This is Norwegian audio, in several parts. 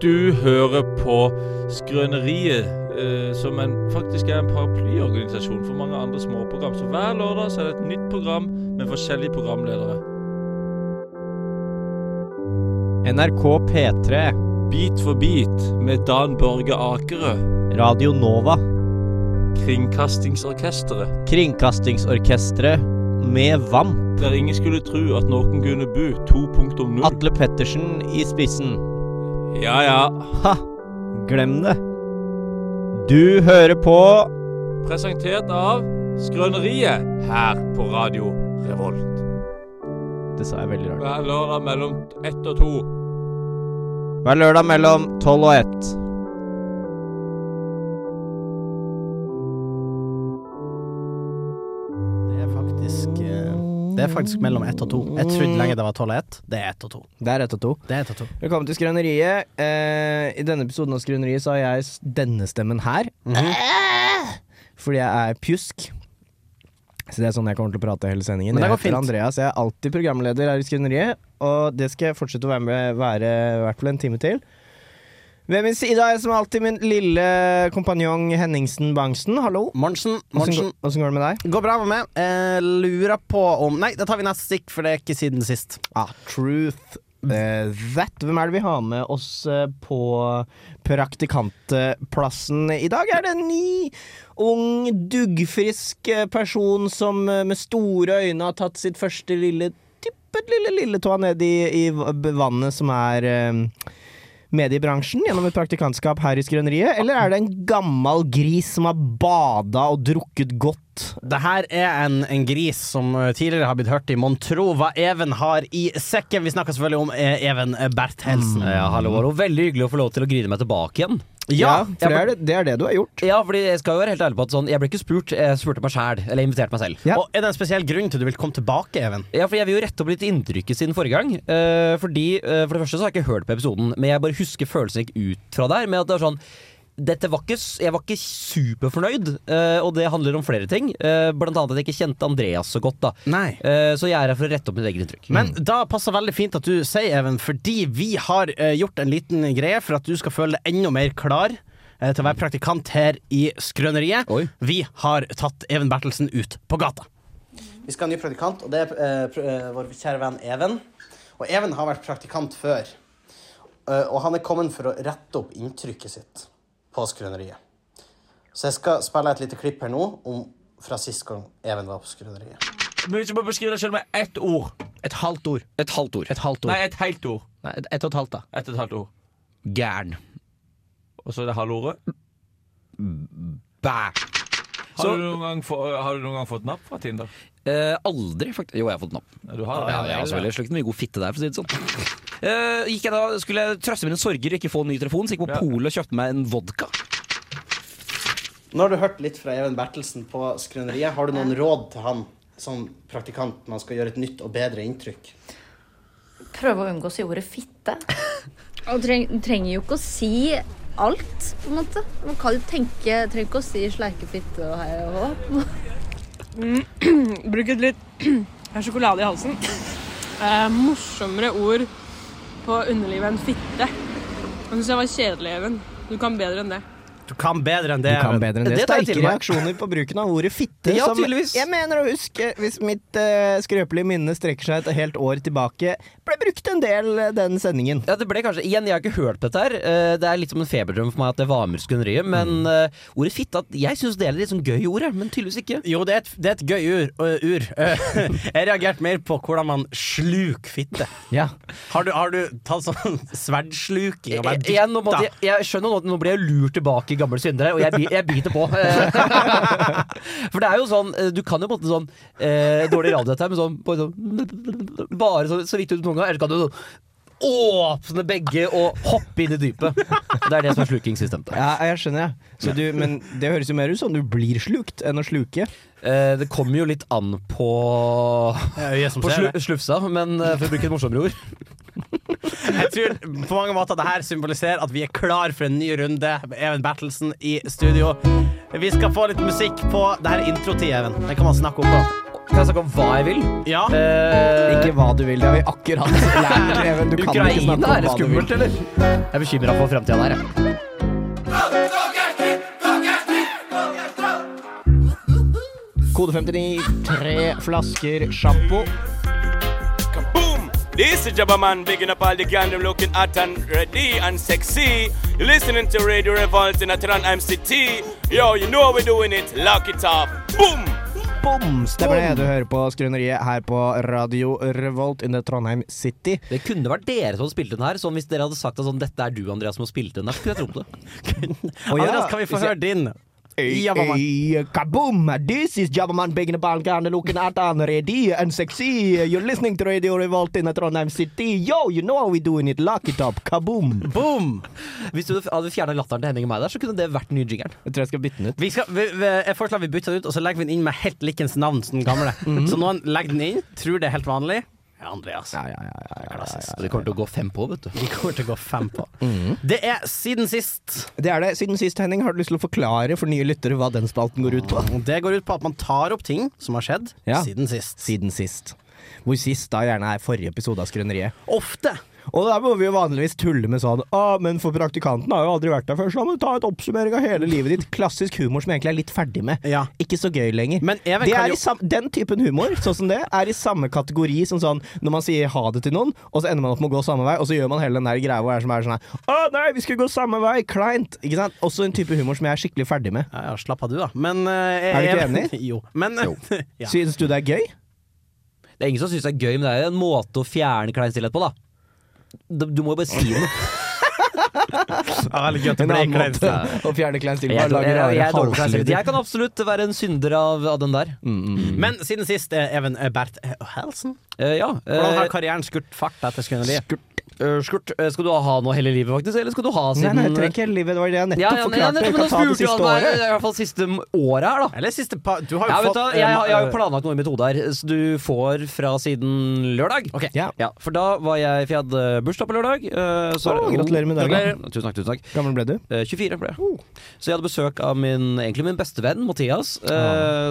Du hører på Skrøneriet, eh, som en, faktisk er en paraplyorganisasjon for mange andre småprogram. Så hver lørdag så er det et nytt program med forskjellige programledere. NRK P3, Bit for bit med Dan Børge Akerø, Radio Nova, Kringkastingsorkesteret. Kringkastingsorkestret med VAMP, Der ingen skulle tro at noen kunne bo 2.0. Atle Pettersen i spissen. Ja ja. Ha! Glem det. Du hører på Presentert av Skrøneriet her på Radio Revolt. Det sa jeg veldig rart. Hver lørdag mellom ett og to. Hver lørdag mellom 12 og 1. Det er faktisk eh, Det er faktisk mellom ett og to. Jeg trodde lenge det var tolv og ett. Det er ett og to. Mm. Det er 1 og 2. Det er ett og to. Velkommen til Skrøneriet. Eh, I denne episoden av Skrøneriet så har jeg s- denne stemmen her. Mhm. Eh! Fordi jeg er pjusk. Så det er sånn jeg kommer til å prate hele sendingen. Men det jeg går heter fint. Andreas, jeg er alltid programleder her i Skrøneriet. Og det skal jeg fortsette å være med være i hvert fall en time til. Ved min side er jeg som alltid min lille kompanjong Henningsen Bangsen. Hallo. Morgensen, Åssen Morgensen. går, åssen går det med deg? Går bra med meg. Eh, lurer på om Nei, det tar vi neste stikk, for det er ikke siden sist. Ah, truth eh, that. Hvem er det vi har med oss eh, på praktikantplassen i dag? Er det en ny, ung, duggfrisk eh, person som eh, med store øyne har tatt sitt første lille tippet lille lilletåa ned i, i v- vannet som er eh, mediebransjen gjennom et praktikantskap her i Skrøneriet? Eller er det en gammel gris som har bada og drukket godt? Det her er en, en gris som eh, tidligere har blitt hørt i Mon tro hva Even har i sekken. Vi snakker selvfølgelig om eh, Even eh, Berthelsen. Ja, hallo, hallo. Veldig hyggelig å få lov til å grine meg tilbake igjen. Ja, for det er det, det er det du har gjort. Ja, fordi Jeg skal jo være helt ærlig på at sånn, jeg ble ikke spurt, jeg spurte meg sjæl. Eller inviterte meg selv. Ja. Og er det en spesiell grunn til du vil komme tilbake, Even? Ja, for Jeg vil jo rette opp litt inntrykket siden forrige gang. Eh, fordi, eh, For det første så har jeg ikke hørt på episoden, men jeg bare husker følelsen jeg gikk ut fra der. Med at det var sånn dette var ikke, s- Jeg var ikke superfornøyd, eh, og det handler om flere ting. Eh, blant annet at jeg ikke kjente Andreas så godt. da Nei. Eh, Så jeg er her for å rette opp mitt eget inntrykk. Men da passer veldig fint at du sier, Even, fordi vi har eh, gjort en liten greie for at du skal føle deg enda mer klar eh, til å være praktikant her i Skrøneriet. Oi. Vi har tatt Even Bertelsen ut på gata. Vi skal ha en ny praktikant, og det er eh, pr- eh, vår kjære venn Even. Og Even har vært praktikant før, eh, og han er kommet for å rette opp inntrykket sitt på Skrøneriet. Så jeg skal spille et lite klipp her nå om, fra sist gang Even var på Skrøneriet. Men hvis du må beskrive deg selv med ett ord Et halvt ord. Et halvt ord. Et halvt ord. Nei, et helt ord. Nei, et, et og et halvt, da. Ett og et halvt ord. Gæren. Og så er det halvordet. Bæ. Har, Så- du noen gang få, har du noen gang fått napp fra Tinder? Eh, aldri, faktisk. Jo, jeg har fått den opp. Ja, Du har det. Ja, altså, jeg har selvfølgelig slukt mye god fitte der, for å si det sånn. Eh, gikk jeg da, skulle jeg trøste mine sorger og ikke få en ny telefon, så gikk jeg på Ja. polet og kjøpte meg en vodka. Nå har du hørt litt fra Even Bertelsen på Skrøneriet. Har du noen råd til han som praktikant man skal gjøre et nytt og bedre inntrykk? Prøve å unngå å si ordet fitte. Og treng, trenger jo ikke å si alt, på en måte. Man kan jo tenke Trenger ikke å si sleikefitte og hei og hå. Bruk et litt Jeg har sjokolade i halsen. Eh, morsommere ord på underlivet enn fitte. Jeg syns jeg var kjedelig, Even. Du kan bedre enn det. Du kan bedre enn det. Du kan bedre enn det. Det tar jeg Sterke til meg. reaksjoner på bruken av ordet fitte. Ja, som tydeligvis. jeg mener å huske, hvis mitt eh, skrøpelige minne strekker seg et helt år tilbake, ble brukt en del eh, den sendingen. Ja, det ble kanskje, igjen, Jeg har ikke hørt på dette. her Eh, Det er litt som en feberdrøm for meg at det var med skuneriet. Men Mm. eh, ordet fitte at Jeg syns det er litt sånn gøy ord, jeg, men tydeligvis ikke. Jo, det er et, det er et gøy ur. ø, ur. Jeg reagerte mer på hvordan man sluker fitte. Ja. Har du, har du tatt sånn sverdsluking og bare Jeg, jeg, nå måtte, jeg, dytta? jeg skjønner nå at nå blir jeg lurt tilbake i gamle syndere, og jeg, bi- jeg biter på. Eh, For det er jo sånn eh, Du kan jo på en måte sånn eh, Dårlig radio dette her, men sånn, på, sånn Bare så, så vidt ut tunga, eller så kan du sånn åpne begge og hoppe inn i dypet. Det er det som er slukingssystemtet. Ja, jeg skjønner, ja. Så du, men det høres jo mer ut som du blir slukt enn å sluke. Eh, det kommer jo litt an på, Øyet som på ser slu, det. slufsa, men eh, for å bruke et morsommere ord. Jeg tror på mange måter det her symboliserer at vi er klar for en ny runde med Even Bertelsen i studio. Vi skal få litt musikk på det her er introtid, Even. Den kan man snakke om på. Kan jeg snakke om hva jeg vil? Ja. Eh, Ikke hva du vil, det har vi akkurat lært. Even. Du kan ikke snakke om Ukraina hva er det du vil. skummelt, eller? Jeg er bekymra for framtida der, jeg. Kode 59, tre flasker sjampo. Boom! This is Jabba Man, bigging up all the gandam looking hot and ready and sexy. You're listening to Radio Revolt in Atran MCT. Yo, you know how we're doing it. Lock it up. Boom! Bom! Stemmer det. Du hører på Skrøneriet her på Radio Revolt in the Trondheim City. Det kunne vært dere som spilte den her. Sånn Hvis dere hadde sagt at sånn, dette er du, Andreas, som har spilt den der, skulle jeg trodd det. Å ja, Andreas, kan vi få hvis jeg- høre din? Ey, Jabba Man. ey, kaboom! This is Jabbaman Big in the Balkan, looking at and ready and sexy. You're listening to Radio Revolt in the Trondheim City. Yo, you know how we doing it. Lock it up. Kaboom! Boom! Hvis du hadde fjerna latteren til Henning og meg der, så kunne det vært den nye jingeren. Jeg tror jeg skal bytte den ut. Vi skal, vi, vi, jeg foreslår vi bytter den ut, og så legger vi den inn med helt likens navn som den gamle. Så noen legger den inn, tror det er helt vanlig. Ja, Andreas. Mhm. Ja, ja, ja, ja, ja, ja. Det kommer til å gå fem på, vet du. Vi kommer til å gå fem på. Mhm. Det er siden sist. Det er det. Siden sist, Henning, har du lyst til å forklare for nye lyttere hva den spalten går ut på? Og Det går ut på at man tar opp ting som har skjedd Ja. siden sist. Siden sist. Hvor sist da gjerne er forrige episode av Skrøneriet. Ofte. Og der må vi jo vanligvis tulle med sånn Å, men for praktikanten har jo aldri vært der før, så han må ta et oppsummering av hele livet ditt. Klassisk humor som egentlig er litt ferdig med. Ja. Ikke så gøy lenger. Men Even det kan er jo- i sam den typen humor sånn som det, er i samme kategori som sånn når man sier ha det til noen, og så ender man opp med å gå samme vei, og så gjør man hele den der greia hvor det er som er sånn her Å nei, vi skulle gå samme vei! Kleint! Ikke sant? Også en type humor som jeg er skikkelig ferdig med. Ja, ja, slapp av du, da. Men eh, Er du ikke Even- enig? Jo. Men, ja. Synes du det er gøy? Det er ingen som syns det er gøy, men det er jo en måte å fjerne klein stillhet på, da. Du, du må jo bare si noe. Ja, veldig gøy at det En ble annen kleint. måte å fjerne klein stil på. Jeg, Lager jeg, jeg, rare er dårlig på klein halslyder. stillhet. jeg kan absolutt være en synder av, av den der. Men siden sist, eh, Even eh, Bert eh, Helsen? mm, Eh, ja. Hvordan eh, har karrieren skutt fart etter Skrøneriet? eh, skurt, eh, skal du ha noe hele livet, faktisk? Eller skal du ha Nei, siden eh? nei, jeg trenger ikke hele livet. Det var det jeg nettopp ja, ja, ja, forklarte. nettopp, Jeg men kan nå ta det spurte du siste han meg, året. i hvert fall siste m- året her, da. Eller siste par Du har jo Ja, vet fått du, hva, eh, jeg, har- jeg har jo eh, planlagt noe i mitt hode her, så du får fra siden lørdag. Ok. Ja. Ja, for da var jeg For jeg hadde bursdag på lørdag. eh, så- Åh, gratulerer med dagen. Oh. Gratulerer. Tusen takk. tusen takk Gammel ble du? Eh, 24 ble jeg. Så jeg hadde besøk av min, egentlig min beste venn Mathias, eh,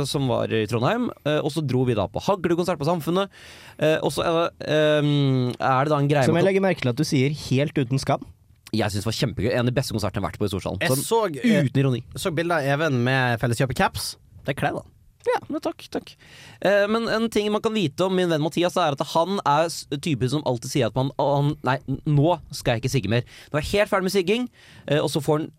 Ah. som var i Trondheim. Eh, og så dro vi da på haglekonsert på Samfunnet. Eh, og så eh, em, er det da en greie Som jeg med legger merke til at du sier helt uten skam. Jeg syns var kjempegøy. En av de beste konsertene jeg har vært på i Storsalen. Jeg Sånn, så, eh, uten ironi. så bilde av Even med Felleskjøpet-caps. Det er kleint, da. Ja, men takk, takk. Eh, men en ting man kan vite om min venn Mathias, er at han er s- typen som alltid sier at man han, Nei, n- nå skal jeg ikke sigge mer. Nå er jeg helt ferdig med sigging, eh, og så får han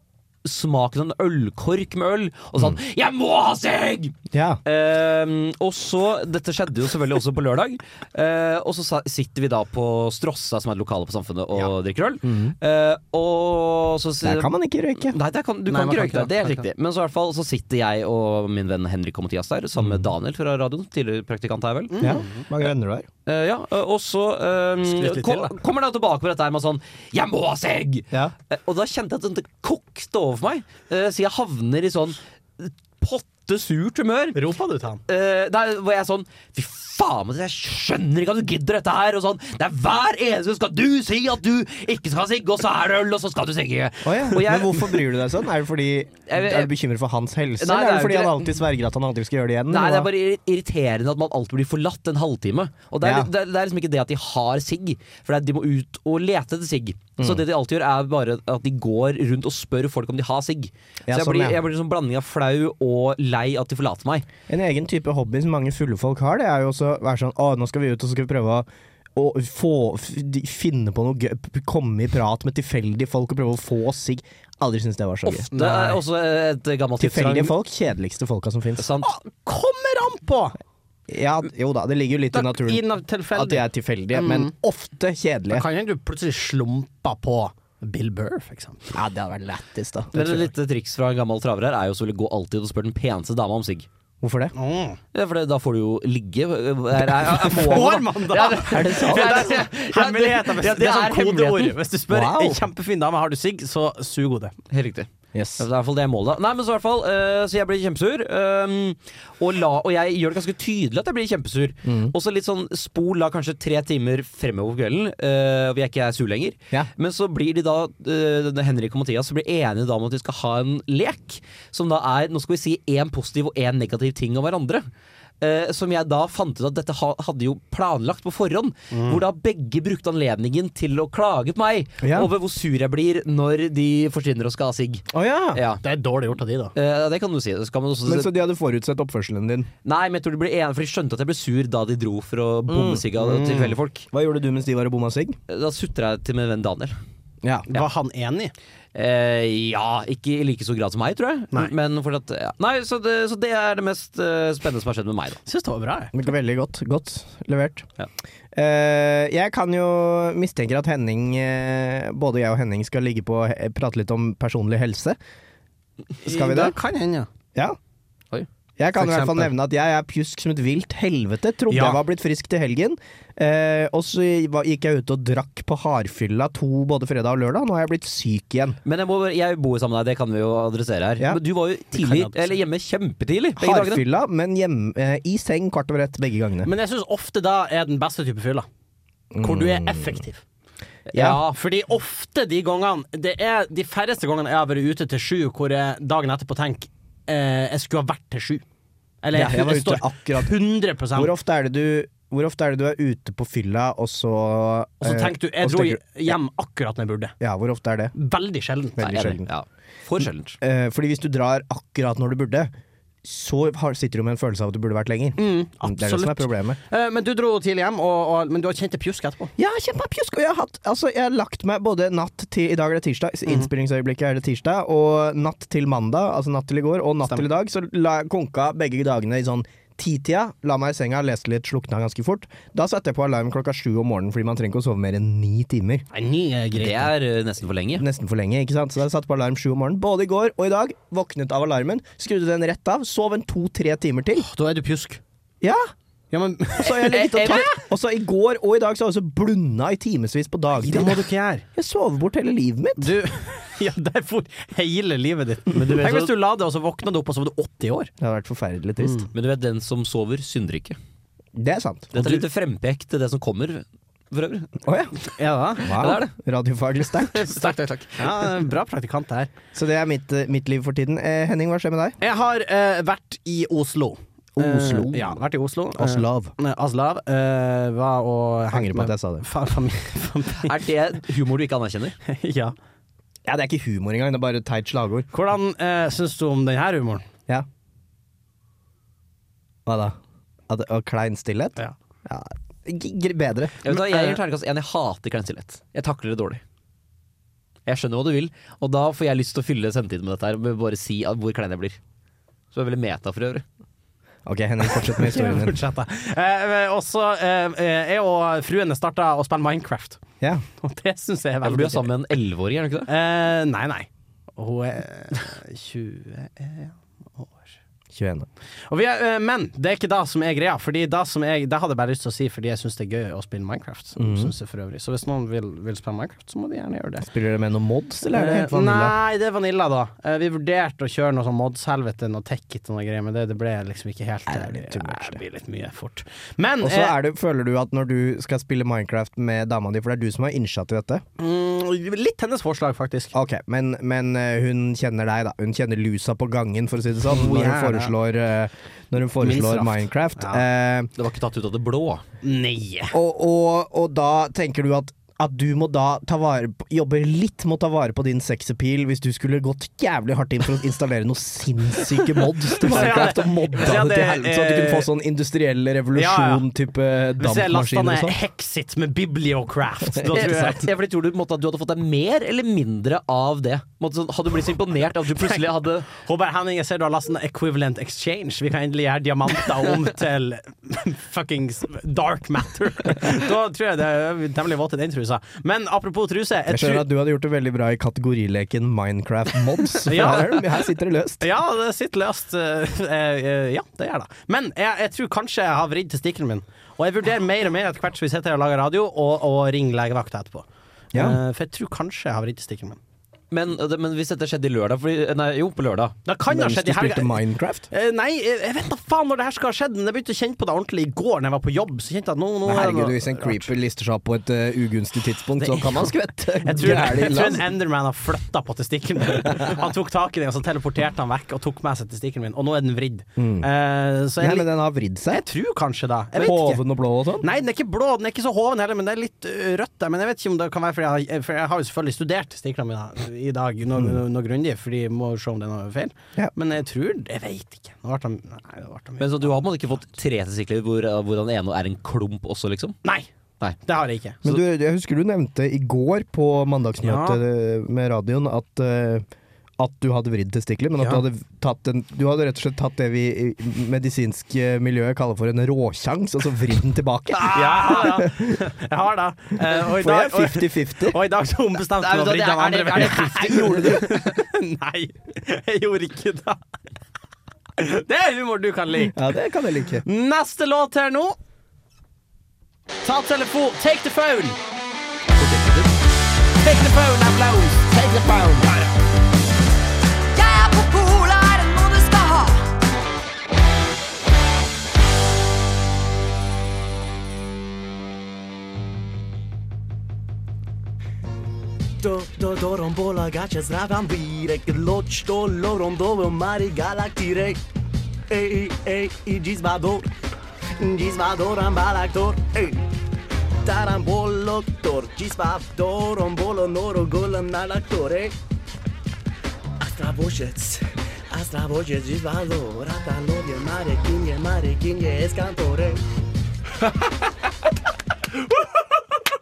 smaken av en ølkork med øl, og sånn Mm. Jeg må ha sigg! Ja. Ehm, og så, Dette skjedde jo selvfølgelig også på lørdag. Eh, og så sa, sitter vi da på Strossa, som er et lokale på Samfunnet, og drikker øl. Mm. Eh, og så sier- Der kan man ikke røyke. Nei, der kan, du Nei, kan man kan ikke røyke ikke der. Det er det. helt riktig. Men så, i hvert fall, så sitter jeg og min venn Henrik og Mathias der, Mm. sammen med Daniel fra radioen. Tidligere praktikant her, vel. Ja, mange venner du har. Eh, ja, eh, Og så eh, Skryt litt kom, til, da. kommer han tilbake med dette her med sånn 'Jeg må ha segg!' Ja. Eh, og da kjente jeg at det kokte over meg, eh, så jeg havner i sånn pottesurt humør. Ropa du til han? Eh, der var jeg sånn Fy faen, Mathias, jeg skjønner ikke at du gidder dette her. Og sånn, det er hver eneste skal du si at du ikke skal sigge, og så er det øl, og så skal du sigge. Og jeg- Men hvorfor bryr du deg sånn? Er du, fordi, Jeg vet- er du bekymret for hans helse, Nei, eller er det er det fordi jo ikke han alltid sverger at han aldri skal gjøre det igjen? Nei, det eller er hva? bare irri- irriterende at man alltid blir forlatt en halvtime. Og det er, Ja. det, er- det er liksom ikke det at de har sigg, for det er, at de må ut og lete etter sigg. Mm. Så det de alltid gjør, er bare at de går rundt og spør folk om de har sigg. Ja, så jeg sånn, blir, ja. jeg blir liksom blanding av flau og lei at de forlater meg. En egen type hobby som mange fulle folk har, det er jo også å være sånn Å, nå skal vi ut, og så skal vi prøve å å få, f- de- finne på noe gøy, p- komme i prat med tilfeldige folk og prøve å få sigg. Aldri syntes det var så gøy. Ofte er også et gammelt tips fra- Tilfeldige folk, kjedeligste folka som fins. Sant? Kommer an på! Ja, jo da, det ligger jo litt i naturen Inn av tilfeldig. at de er tilfeldige, men ofte Da kjedelige. kan hende du plutselig slumpa på Bill Burr, for eksempel. Ja, det hadde vært lættis, da. Men et lite triks fra en gammel traver her er jo selvfølgelig gå alltid og spørre den peneste dama om sigg. Hvorfor det? Ja, for det, da får du jo ligge. Er, er, er, er, Får man da? Ja, det, er det sant? Ja, Ja, det- Hemmeligheten. ja, hvis- det er sånn kodeord. hemmeligheten. Hvis du spør Wow. en kjempefin dame har du sigg, så suger hun det. Helt riktig. Yes. Ja, Det er i hvert fall det målet. da. Nei, men så i hvert fall eh, Så jeg blir kjempesur. ehm, og, la, og jeg gjør det ganske tydelig at jeg blir kjempesur. Mm. Og så litt sånn spol da kanskje tre timer fremover på kvelden, eh, hvor jeg ikke er sur lenger. Ja. Men så blir de da eh, denne Henrik og Mathias Så blir enige da om at de skal ha en lek. Som da er Nå skal vi si én positiv og én negativ ting om hverandre. eh, som jeg da fant ut at dette ha, hadde jo planlagt på forhånd. Mm. Hvor da begge brukte anledningen til å klage på meg Ja. over hvor sur jeg blir når de forsvinner og skal ha sigg. Å ja. Ja. Det er dårlig gjort av de, da. Eh, det kan du si. Så kan man også Men så de hadde forutsett oppførselen din. Nei, men jeg tror de ble enige, for de skjønte at jeg ble sur da de dro for å Mm. bomme sigga tilfeldige folk. Eh, Hva gjorde du mens de var og bomma sigg? Da sutra jeg til min venn Daniel. Ja. Var han enig? Eh, ja, ikke i like stor grad som meg, tror jeg. Nei. Men fortsatt, ja. Nei, så det, så det er det mest eh, spennende som har skjedd med meg, da. Syns det var bra, jeg. Veldig godt. Godt levert. Ja. Eh, jeg kan jo mistenker at Henning eh, Både jeg og Henning skal ligge på eh, prate litt om personlig helse. Skal vi det? kan hende, ja. Ja. Oi. Jeg kan For i hvert fall eksempel. nevne at jeg er pjusk som et vilt helvete. Trodde Ja. jeg var blitt frisk til helgen. Eh, og så var- gikk jeg ut og drakk på hardfylla to både fredag og lørdag. Nå er jeg blitt syk igjen. Men jeg, må, bare- jeg bor jo sammen med deg, det kan vi jo adressere her. Ja. Men du var jo tidlig, adressere. eller hjemme kjempetidlig begge dagene. Hardfylla, men hjemme, eh, i seng kvart over ett begge gangene. Men jeg syns ofte da er den beste type fylla. Hvor du er effektiv. Ja. Fordi ofte de gangene Det er de færreste gangene jeg har vært ute til sju, hvor jeg dagen etterpå tenker eh, jeg skulle ha vært til sju. Eller Ja, jeg var ute står akkurat- 100 Hvor ofte er det du hvor ofte er det du er ute på fylla, og så Og så eh, tenker du jeg og så dro tenker du- hjem akkurat når jeg burde. Ja, hvor ofte er det? Veldig sjelden. Veldig Nei, jeg- sjelden. Ja, for sjeldent. Eh, fordi hvis du drar akkurat når du burde, så har, sitter du med en følelse av at du burde vært lenger. det er det som er Mm, absolutt. problemet. Eh, Men du dro tidlig hjem, og, og, men du har kjent det pjusk etterpå. Ja, kjempepjusk! Og jeg har, hatt, altså, jeg har lagt meg både natt til I dag er det tirsdag, Mhm. så innspillingsøyeblikket er det tirsdag, og natt til mandag, altså natt til i går, og natt til i dag, så la jeg konka begge dagene i sånn titida. La meg i senga, leste litt, slukna ganske fort. Da satte jeg på alarm klokka sju om morgenen, fordi man trenger ikke å sove mer enn ni timer. Nei, ni er Det greit. er eh, nesten for lenge. Nesten for lenge, ikke sant? Så jeg satte på alarm sju om morgenen, både i går og i dag. Våknet av alarmen, skrudde den rett av, sov en to-tre timer til. Da er du pjusk. Ja! Ja, men Og så har jeg ligget og tatt Og så i går og i dag så har jeg også blunda i timevis på dagtid. Det må du ikke gjøre. Jeg sover bort hele livet mitt. Du Ja, der for hele livet ditt. du vet Tenk hvis at- du la det, og så våkna du opp, og så var du 80 år. Det hadde vært forferdelig trist. Men du vet, den som sover, synder ikke. Mm. Det er sant. Dette er litt frempek til det som kommer, for øvrig. Å ja. Ja, Wow. Ja, det er Radiofaglig sterkt. Takk, takk, takk. Ja, bra praktikant det her. Så det er mitt, eh, mitt liv for tiden. Eh, Henning, hva skjer med deg? Jeg har eh, vært i Oslo. Oslo. Eh, ja, vært i Oslo. Eh, Oslav. nei, Aslav. eh, var og Angrer på at jeg sa det. det. Er det humor du ikke anerkjenner? ja. Ja, det er ikke humor engang, det er bare et teit slagord. Hvordan uh, syns du om denne humoren? Ja. Hva da? At, og klein stillhet? Ja. Ja, g- g- Bedre. Jeg, vet, hva, jeg gir terningkast én. Jeg hater klein stillhet. Jeg takler det dårlig. Jeg skjønner hva du vil, og da får jeg lyst til å fylle sendetiden med dette her. Med å bare si at hvor klein jeg blir. Så det er veldig meta for øvrig. Ok, Henning, fortsett med historien din. Fortsett, da. Eh, og så eh, eh, jeg og fruene starta å spille Minecraft. Ja. Og det syns jeg er Ja, for veldig du er sammen med en elleveåring, er du ikke det? Eh, nei, nei. Hun er 21 år. 21. Og vi er, eh, men det er ikke det som er greia. Fordi det, som jeg, det hadde jeg bare lyst til å si fordi jeg syns det er gøy å spille Minecraft. Mhm. Synes jeg for øvrig Så hvis noen vil, vil spille Minecraft, så må de gjerne gjøre det. Spiller dere med noen mods, eller er det helt Eh, vanilla? Nei, det er vanilla, da. Eh, vi vurderte å kjøre noe sånn Mods-helvete, noe tech-it og noe greier, men det, det ble liksom ikke helt Nei, det blir too Nei, much, det det. blir litt mye fort. Men Og så eh, er du, føler du at når du skal spille Minecraft med dama di, for det er du som har innsatt i dette mm, litt hennes forslag, faktisk. Ok, men, men eh, hun kjenner deg da Hun kjenner lusa på gangen, for å si det sånn Oh, Når hun gjerne. foreslår, eh, når hun foreslår straff. Minecraft Ja. Eh, Det var ikke tatt ut av det blå. Nei. og, og, og da tenker du at at du må da ta vare på, jobbe litt med å ta vare på din sexappeal hvis du skulle gått jævlig hardt inn for å installere noen sinnssyke mods til Minecraft og modda Hvis jeg det til hadde, helvete, så at du kunne få sånn industriell revolusjon-type eh, Hvis jeg lasta dampmaskiner ned og sånn. Hexit med Bibliocraft, da tror jeg Jeg, fordi tror du på en måte at du hadde fått deg mer eller mindre av det? På en måte Sånn, hadde du blitt så imponert av at du plutselig hadde Håvard Henning, jeg ser du har lastet ned Equivalent Exchange. Vi kan endelig gjøre diamanter om til fuckings dark matter. da tror jeg det er temmelig våt i den trusa. Men apropos truse jeg Jeg skjønner tror- at du hadde gjort det veldig bra i kategorileken Minecraft mods. for Ja. her, er det- her sitter det løst. Ja, det sitter løst. Eh, eh, ja, det gjør det. Men jeg, jeg tror kanskje jeg har vridd testikkelen min. Og jeg vurderer mer og mer etter hvert som vi sitter her og lager radio, og, og ringer legevakta etterpå. Ja. Eh, for jeg tror kanskje jeg har vridd testikkelen min. Men, men hvis dette skjedde i lørdag fordi, Nei, jo, på lørdag. Det kan ha Mens skjedd du i helga. spilte Minecraft? Eh, nei, eh, jeg vet da faen når det her skal ha skjedd, men jeg begynte å kjenne på det ordentlig i går når jeg var på jobb. Så kjente jeg at nå, nå Men er det noe- herregud, hvis en creeper lister seg opp på et eh, ugunstig tidspunkt, så Det er sånn kan man jo- skvette Jeg tror, gærlig jeg tror en land. Enderman har flytta på testikkelen min. Han tok tak i den, og så teleporterte han vekk og tok med seg testikkelen min, og nå er den vridd. Eh, Nei, så jeg, Mm. men den har vridd jeg seg. tror kanskje det. Jeg vet ikke. Hoven og blå og sånn. Nei, den er ikke blå, den er ikke så hoven heller, men det er litt ø, rødt der. Men jeg vet ikke om det kan være fordi jeg har, for jeg har jo selvfølgelig studert stiklene mine i dag noe, noe, noe grundig, fordi jeg må se om det er noe feil. Mm. Ja. Men jeg tror Jeg veit ikke. Nå ble de, nei, det ble de Men så du har på en måte ikke fått tre testikler hvor, hvor den ene er en klump også, liksom? Nei! Nei. Det har jeg ikke. Men du, jeg husker du nevnte i går på mandagsmøtet eh, med radioen at eh, at du hadde vridd testikler, men at Ja. du, hadde tatt en, du hadde rett og slett tatt det vi i medisinske miljøet kaller for en råkjangs, og så vridd den tilbake. Ja, ja. Jeg har det. Eh, og i For dag- jeg er 50-50. Og i dag så ombestemte Nei, jeg men da, meg for det den er- er andre det- er det Gjorde du? Nei, jeg gjorde ikke det. Det er humor du kan like. Ja, det kan jeg like. Neste låt her nå. Ta telefon. Take the phone. Take the phone, applaus. Take the phone. Jeg er på Pola, er det noe du skal ha? to, to, to rombola gaće zravan virek Loč to lorom dovo mari galaktirek Ej, ej, i džizvador Džizvador ambalaktor Ej, taramboloktor Džizvador ombolo noro golam nalaktor Ej, Astravožec Astravožec džizvador Atalor je mare kinje, mare kinje eskantor Ej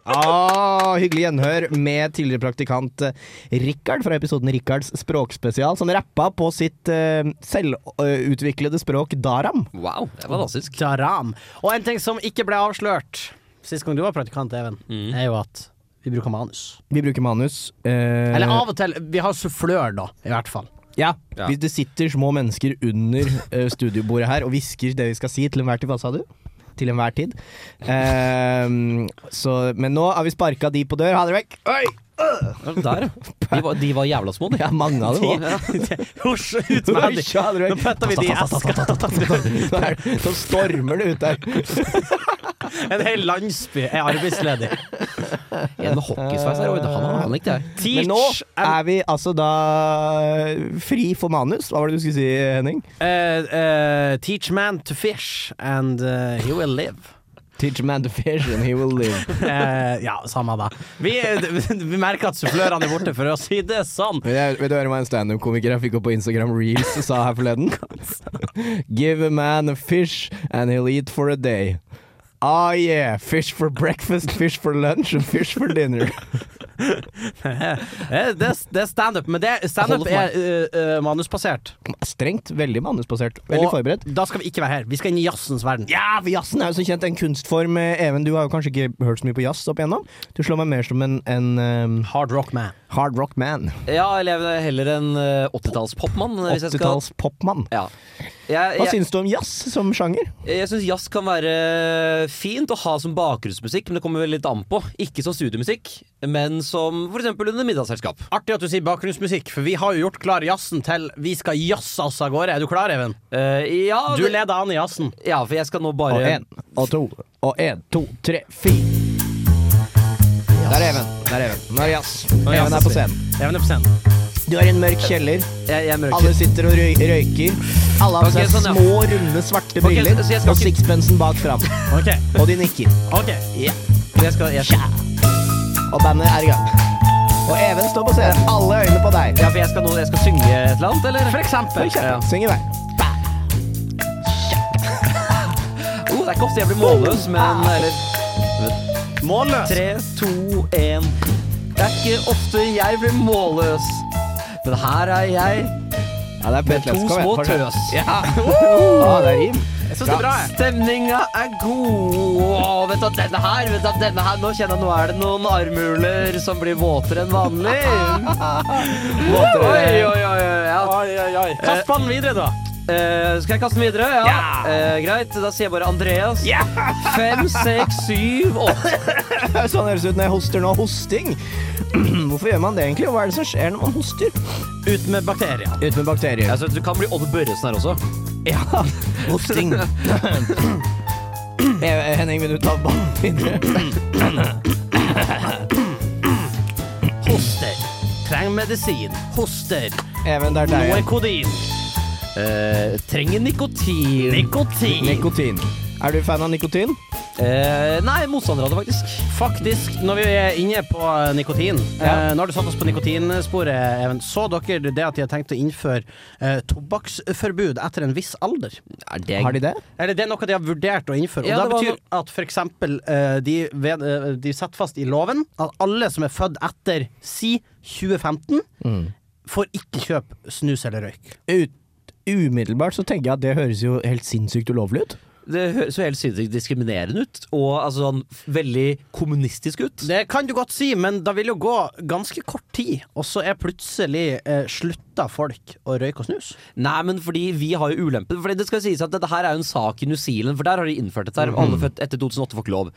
Ah, hyggelig gjenhør med tidligere praktikant eh, Rikard fra episoden Rikards språkspesial, som rappa på sitt eh, selvutviklede språk daram. Wow, det var fantastisk. Taram. Og en ting som ikke ble avslørt sist gang du var praktikant, Even, Mm. er jo at vi bruker manus. Vi bruker manus. eh, Eller av og til. Vi har sufflør, da, i hvert fall. Ja, Ja. hvis det sitter små mennesker under eh, studiobordet her og hvisker det vi skal si til enhver tid. Hva sa du? Til enhver tid. Ehm, så, men nå har vi sparka de på dør. Ha dere vekk! Oi! Der, ja. De var, de var jævla små, de. Ja, mange av dem òg. Husj, ut med de. Ha dere Nå vekk! putter vi de i eska. Nå er- Nå stormer det ut der. En hel landsby er arbeidsledig. En med hockeysveis her. Oi, det- han, han likte jeg. Teach Men nå and- er vi altså da fri for manus. Hva var det du skulle si, Henning? Eh, eh, Teach man to fish, and eh, he will live. Teach man to fish and he will live. Eh, ja, samme da. Vi, vi merker at sufflørene er borte, for å si det sånn. Men jeg, vet du hva en standup-komiker jeg fikk opp på Instagram Reels sa her forleden? Give a man a fish and he'll eat for a day. Ah yeah, fish for breakfast, fish for lunch and fish for dinner. Eh, Det, det er standup, men det standup Det holder er eh, eh, manusbasert. Strengt, veldig manusbasert. Veldig Og forberedt. Da skal vi ikke være her. Vi skal inn i jazzens verden. Ja, for jazzen er jo så kjent en kunstform. Eh, Even, du har jo kanskje ikke hørt så mye på jazz opp igjennom. Du slår meg mer som en, en eh, Hard rock man. hard rock man. Ja, eller jeg er heller en eh, 80-tallspopmann. hvis jeg skal- 80-talls popmann. Ja. Jeg, Hva jeg, syns du om jazz som sjanger? Eh, jeg syns jazz kan være eh, fint å ha som bakgrunnsmusikk, men det kommer vel litt an på. Ikke som studiomusikk, men som f.eks. under middagsselskap. Artig at du sier bakgrunnsmusikk, for vi har jo gjort klar jazzen til vi skal jazze oss av gårde. Er du klar, Even? Eh, ja, Du det- leder an i jazzen. ja, for jeg skal nå bare Og én, og to, og én, to, tre, fire. Der er Even. Der er Even. Nå er det jazz. Even er på scenen. Even er på scenen. Du har en mørk kjeller. Jeg, jeg mørker. Alle sitter og røy røyker. Alle har på Ok, seg sånn, ja. små, runde, svarte Ok, briller. så jeg skal Og ikke- sixpensen bak fram. Ok, Og de nikker. ok. Jeg skal, jeg, Tja. Og bandet er i gang. Og Even står på scenen. Alle øyne på deg. ja, for jeg skal, nå, jeg skal synge et eller annet, eller? For eksempel. Ja, ja. Syng i vei. Oh, det er ikke ofte jeg blir målløs, men eller, Målløs. Tre, to, én. Det er ikke ofte jeg blir målløs, men her er jeg. Ja, det er Petless. to Kom igjen, små fortsett. tøs. Ja. Ah, det er rim. Jeg syns det er bra, jeg. Stemninga er god. Åh, vet du at denne her, vet du at denne her Nå kjenner jeg nå er det noen armhuler som blir våtere enn vanlig. Oi, oi, oi, oi. Ja. Kast ballen videre, da. Eh, skal jeg kaste den videre? Ja. Eh, greit, da sier jeg bare Andreas. Fem, seks, syv, åtte. sånn høres det ut når jeg hoster nå. Hosting! Hvorfor gjør man det egentlig? Hva er det som skjer når man hoster? Ut med bakterier. Ut med bakterier. Altså, du kan bli Odd Børresen her også. Ja. Hosting. Eh, Henning, vil du ta ballen videre? Hoster. Trenger medisin. Hoster. Even, det er deg. igjen. Noekodin. Eh, trenger nikotin. Nikotin. Nikotin. Er du fan av nikotin? Eh, nei, motstander av det, faktisk. Faktisk, når vi er inne på eh, nikotin eh, Nå har du satt oss på nikotinsporet, Even. Så dere det at de har tenkt å innføre eh, tobakksforbud etter en viss alder? Er det Har de det? Eller det er noe de har vurdert å innføre. Og Ja, det det var betyr at for eksempel eh, de, ved, eh, de setter fast i loven at alle som er født etter si 2015, får ikke kjøpe snus eller røyk. Ut, umiddelbart så tenker jeg at det høres jo helt sinnssykt ulovlig ut. Det høres jo helt sinnssykt diskriminerende ut, og altså sånn veldig kommunistisk ut. Det kan du godt si, men da vil jo gå ganske kort tid, og så er plutselig eh, slutta folk å røyke og snus. Nei, men fordi vi har jo ulempen. Fordi det skal sies at dette her er jo en sak i New Zealand, for der har de innført dette. her Mhm. Alle født etter 2008 får ikke lov.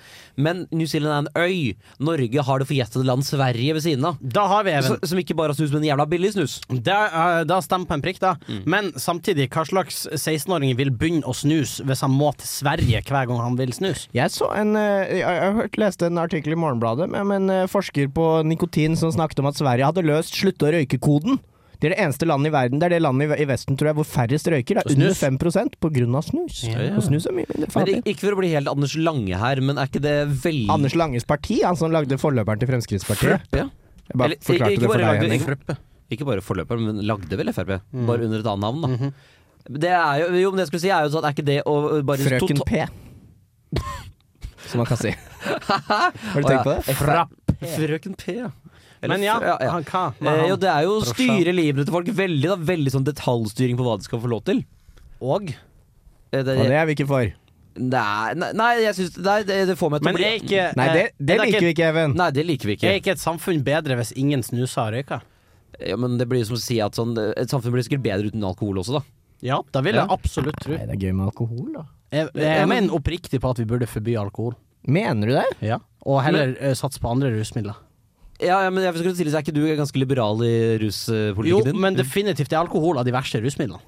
Men New Zealand er en øy. Norge har det forjettede land Sverige ved siden av. Da har vi Even. Så, som ikke bare har snus, men jævla billig snus. Da, eh, da stemmer på en prikk, da. Men samtidig, hva slags 16-åring vil begynne å snuse hvis han må til Sverige hver gang han vil snus? Jeg så en eh, Jeg, jeg hørte, leste en artikkel i Morgenbladet med med en eh, forsker på nikotin som snakket om at Sverige hadde løst slutte å røyke-koden. Det er det eneste landet i verden Det er det landet i, ve- i Vesten tror jeg hvor færrest røyker. Det er under snus. 5 på grunn av snus. Og snus er mye mindre Men farlig. ik- ikke for å bli helt Anders Lange her, men er ikke det veldig Anders Langes parti, han som lagde forløperen til Fremskrittspartiet. Frp? Jeg bare Eller, forklarte ikke det for bare deg, lagde- Henning. Mm. ikke- Ikke bare forløper, men lagde vel Frp? Bare under et annet navn, da. Mhm. Det er jo, jo, men det jeg skulle si er jo sånn, er ikke det å å bare Frøken tota- P. Som man kan si. Har du tenkt på Å, ja. det? Frapp. Frøken P, ja. Eller Men ja, fra- han hva? med Eh, han? jo, det er jo å Brorsan. styre livene til folk veldig, da. Veldig sånn detaljstyring på hva de skal få lov til. Og? Eh, Og det det, er vi ikke for. nei, nei, nei, jeg syns Nei, det, det får meg til Men å bli Mm. er ikke Nei, Eh, det, det liker vi ikke, Even. Nei, det liker vi ikke. Er ikke et samfunn bedre hvis ingen snuser og røyker? Ja, men det blir jo som å si at sånn, et samfunn blir sikkert bedre uten alkohol også, da. Ja, da vil Ja. jeg absolutt tro. Nei, det er gøy med alkohol, da. Jeg, jeg mener oppriktig på at vi burde forby alkohol. Mener du det? Ja. Og heller eh, satse på andre rusmidler. Ja, ja men jeg skulle si, Er ikke du ganske liberal i Jo, ruspolitikken din? men definitivt er alkohol av de verste rusmidlene.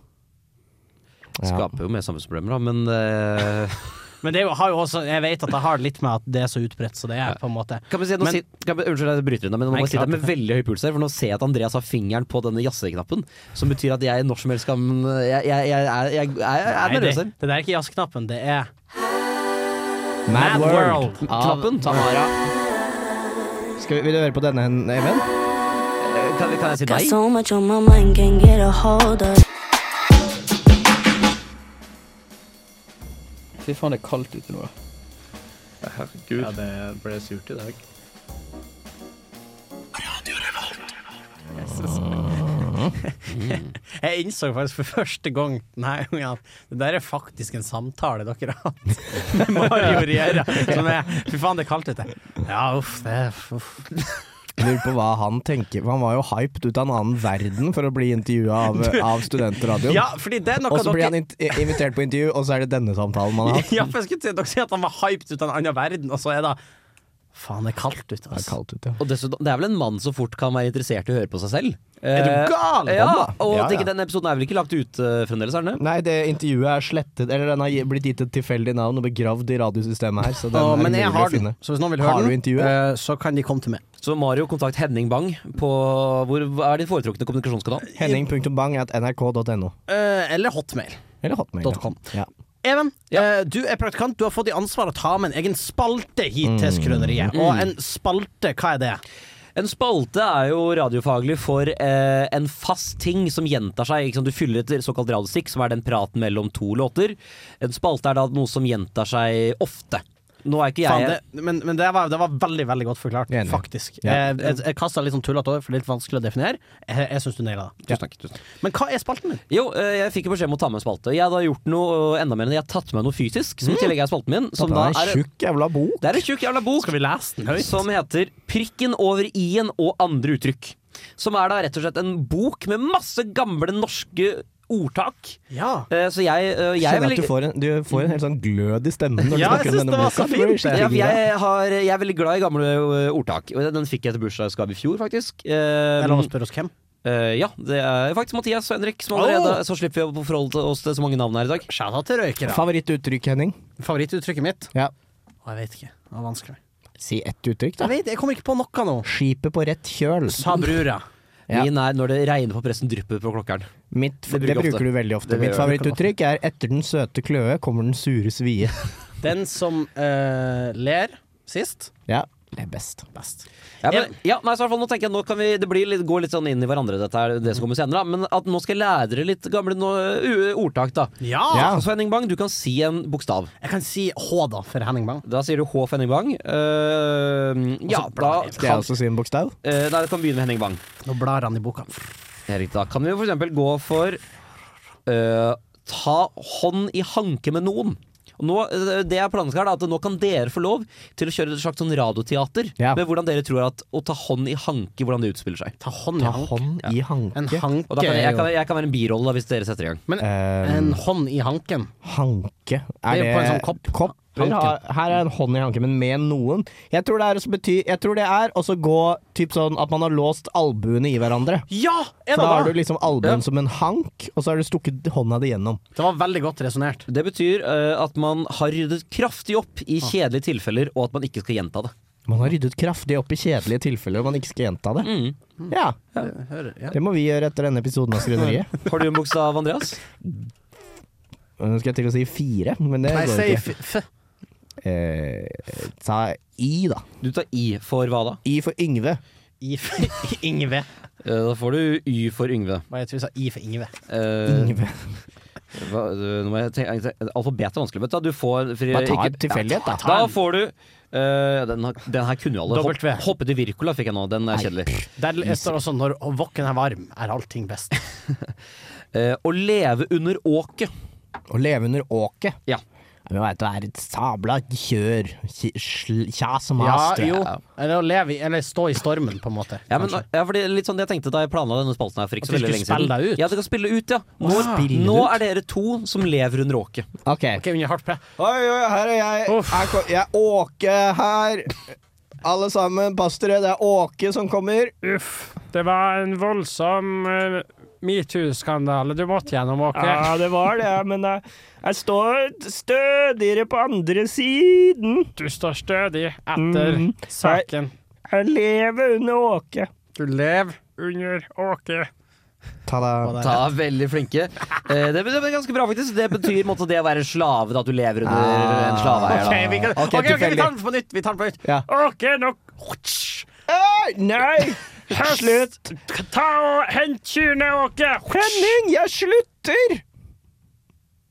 Skaper jo mer samfunnsproblemer, da, men eh, Men det er jo- har jo også, jeg vet at det har litt med at det er så utbredt, så det er på en måte Kan vi si, nå Men- si, kan vi, unnskyld, jeg bryter inn, da, men nå Nei, må jeg si klart det med det. veldig høy puls her. For nå ser jeg at Andreas har fingeren på denne jazzeknappen, som betyr at jeg når som helst kan Jeg, jeg, jeg, jeg, jeg, jeg, jeg er Nei, det, nervøs her. det der er ikke jazzknappen, det er Mad World. Knappen. Skal vi, vil du høre på denne, Hen- Even? Eh, Kan, kan jeg si Got nei? so much on my mind, can't get a hold of. Fy faen, det er kaldt ute nå. Herregud. Ja, det ble surt i dag. Jeg innså faktisk for første gang Nei, ja, det der er faktisk en samtale dere har hatt med Mario Riera. Som er Fy faen, det er kaldt ute. Ja, uff, det er uff. Jeg Lurer på hva han tenker for Han var jo hyped ut av en annen verden for å bli intervjua av, av studentradioen. Ja, fordi det er noe og så blir dere han int- i- invitert på intervju, og så er det denne samtalen man har hatt. Ja, for jeg skulle si Dere sier at han var hyped ut av en annen verden, og så er det Faen, det er kaldt ute, Det er altså. kaldt ute, ja. Og dessuten, det er vel en mann som fort kan være interessert i å høre på seg selv. Er Eh, du gal? Ja, og Ja, ja. tenk, denne episoden er vel ikke lagt ut eh, fremdeles, er den det? Nei, det intervjuet er slettet, eller den har gi- blitt gitt et tilfeldig navn og begravd i radiosystemet her, så den Å, er men umulig jeg å har den, finne. så hvis noen vil Har høre du den, intervjuet? eh, så kan de komme til meg. Så Mario, kontakt Henning Bang på Hvor hva er din foretrukne kommunikasjonskanal? Eh, Henning.bang at nrk.no. Eh, eller hotmail. Eller hotmail. ja. .com. Ja. Even, eh, du er praktikant. Du har fått i ansvar å ta med en egen spalte hit Mm. til Skrøneriet. Og en spalte, hva er det? En spalte er jo radiofaglig for eh, en fast ting som gjentar seg. Ikke sant? Du fyller et såkalt radiostikk, som er den praten mellom to låter. En spalte er da noe som gjentar seg ofte. Nå er ikke jeg Faen, det, men men det, var, det var veldig veldig godt forklart, Jeg er enig. faktisk. Ja. Eh, Jeg, jeg kasta litt sånn tullete over, for det er litt vanskelig å definere. Jeg, jeg syns du naila det. Tusen takk, tusen takk. Men hva er spalten din? Jo, eh, jeg fikk jo beskjed om å ta med en spalte. Jeg har da gjort noe eh, enda mer enn jeg har tatt med noe fysisk, som i tillegg er spalten min. Som Det da er en er, tjukk jævla bok. det er en tjukk jævla bok Skal vi lese den høyt? som heter 'Prikken over i-en og andre uttrykk'. Som er da rett og slett en bok med masse gamle norske ordtak. Eh, så jeg, eh, jeg er Kjenner veldig- at du får, en, du får en helt sånn glød i stemmen når du Ja, snakker jeg om synes denne det var boka. så Du blir fint. skikkelig Ja, for glad. jeg, har, jeg er veldig glad i gamle ø, ordtak. Og Den fikk jeg til bursdagsgave i fjor, faktisk. Det Eh, er lov å spørre oss hvem. eh, ja, det er faktisk Mathias og Henrik som allerede Så slipper vi å forholde oss til så mange navn her i dag. Shout-out til røykere. Favorittuttrykk, Henning? Favorittuttrykket mitt? Ja. Å, jeg vet ikke. Det var vanskelig. Si ett uttrykk, da. Jeg vet, jeg kommer ikke på noe nå. Skipet på rett kjøl. Sa brura. Ja. Min er 'når det regner på pressen, drypper på klokkeren'. Mitt, det, bruker jeg du veldig ofte. Det Mitt gjør jeg. favorittuttrykk er 'etter den søte kløe kommer den sure svie'. Den som eh, ler sist, Ja, det er best. best. Ja, men, ja, nei, så i hvert fall nå tenker jeg nå kan vi, Det blir litt, går litt sånn inn i hverandre, dette her, det som kommer senere. Da. Men at nå skal jeg lære dere litt gamle nå, u- ordtak, da. Ja. Så Henning Bang, du kan si en bokstav. Jeg kan si H, da, for Henning Bang. Da sier du H for Henning Bang. Eh, ja, da Skal jeg kan, også si en bokstav? eh, Nei, det kan begynne med Henning Bang. Nå blar han i boka. Erik, da kan vi jo for eksempel gå for eh, ta hånd i hanke med noen. Og nå, eh, det jeg planlegger her, da, at nå kan dere få lov til å kjøre et slags sånn radioteater med hvordan dere tror at å ta hånd i hanke, hvordan det utspiller seg. Ta hånd i Ta hank. hånd i hanke. En hank Og da kan jeg, er jeg, jo- kan, jeg kan være en birolle da, hvis dere setter i gang. Men en hånd i hanken. Hanke Det er jo på en sånn kopp. Kopper Hanken. har, her er en hånd i hanken, men med noen. Jeg tror det er å så bety, jeg tror det er også gå typ sånn at man har låst albuene i hverandre. Ja! For En da av har dem! du liksom albuen som en hank, og så har du stukket hånda di gjennom. Det var veldig godt resonnert. Det betyr eh, at man har ryddet kraftig opp i Ah. kjedelige tilfeller, og at man ikke skal gjenta det. Man har ryddet kraftig opp i kjedelige tilfeller hvor man ikke skal gjenta det. Mm. Ja, Hører, ja. det må vi gjøre etter denne episoden av Skrøneriet. Har du en bokstav, Andreas? Nå skal jeg til å si fire, men det Nei, går si ikke. f... f- Eh, ta i, da. Du tar I for hva da? I for Yngve. I for Yngve. Eh, da får du Y for Yngve. Hva heter vi sa? I for Yngve. Eh, Yngve. hva, eh, nå må jeg tenke, jeg tenker- alfabetet er vanskelig, vet du. Du får for, Bare ta ikke- en tilfeldighet, da. Ja, Da får du eh, den, har- den her kunne jo alle. Hopp, W. hoppet i Virkola fikk jeg nå. Den er kjedelig. Der står det også 'når vokken er varm, er allting best'. Eh, å leve under åket. Å leve under åket. Ja. Men veit du, det er et sabla kjør. Kj- sl- Kja som Ja, hast. jo. Eller å leve i Eller stå i stormen, på en måte. Ja, men, kanskje. ja, for det er litt sånn det jeg tenkte da jeg planla denne spalten her for ikke At så du veldig skulle lenge siden. spille deg ut? Ja, at jeg skal spille ut, ja. Nå, Spille nå ut? er dere to som lever under åket. Ok. Ok, under hardt press. Oi, oi, her er jeg. Uff. Her kom, jeg er Åke her. Alle sammen, pass dere. Det er Åke som kommer. Uff. Det var en voldsom eh, metoo-skandale du måtte gjennom, Åke. Ja, det var det, men jeg, jeg står stødigere på andre siden. Du står stødig etter Mm. saken. Jeg lever under åket. Du lever Under Åke. Ta deg Da er veldig flinke. Eh, det, det er ganske bra, faktisk. Det betyr i en måte, det å være slave, da, at du lever under en slaveeier. OK, da. vi, kan, Ok, ok, ok, vi tilfeldig. tar den på nytt. Vi tar den på nytt. Ja. Åke, nå Øy, Nei! Slutt! Ta og hent kyrne, Åke! Henning, jeg slutter!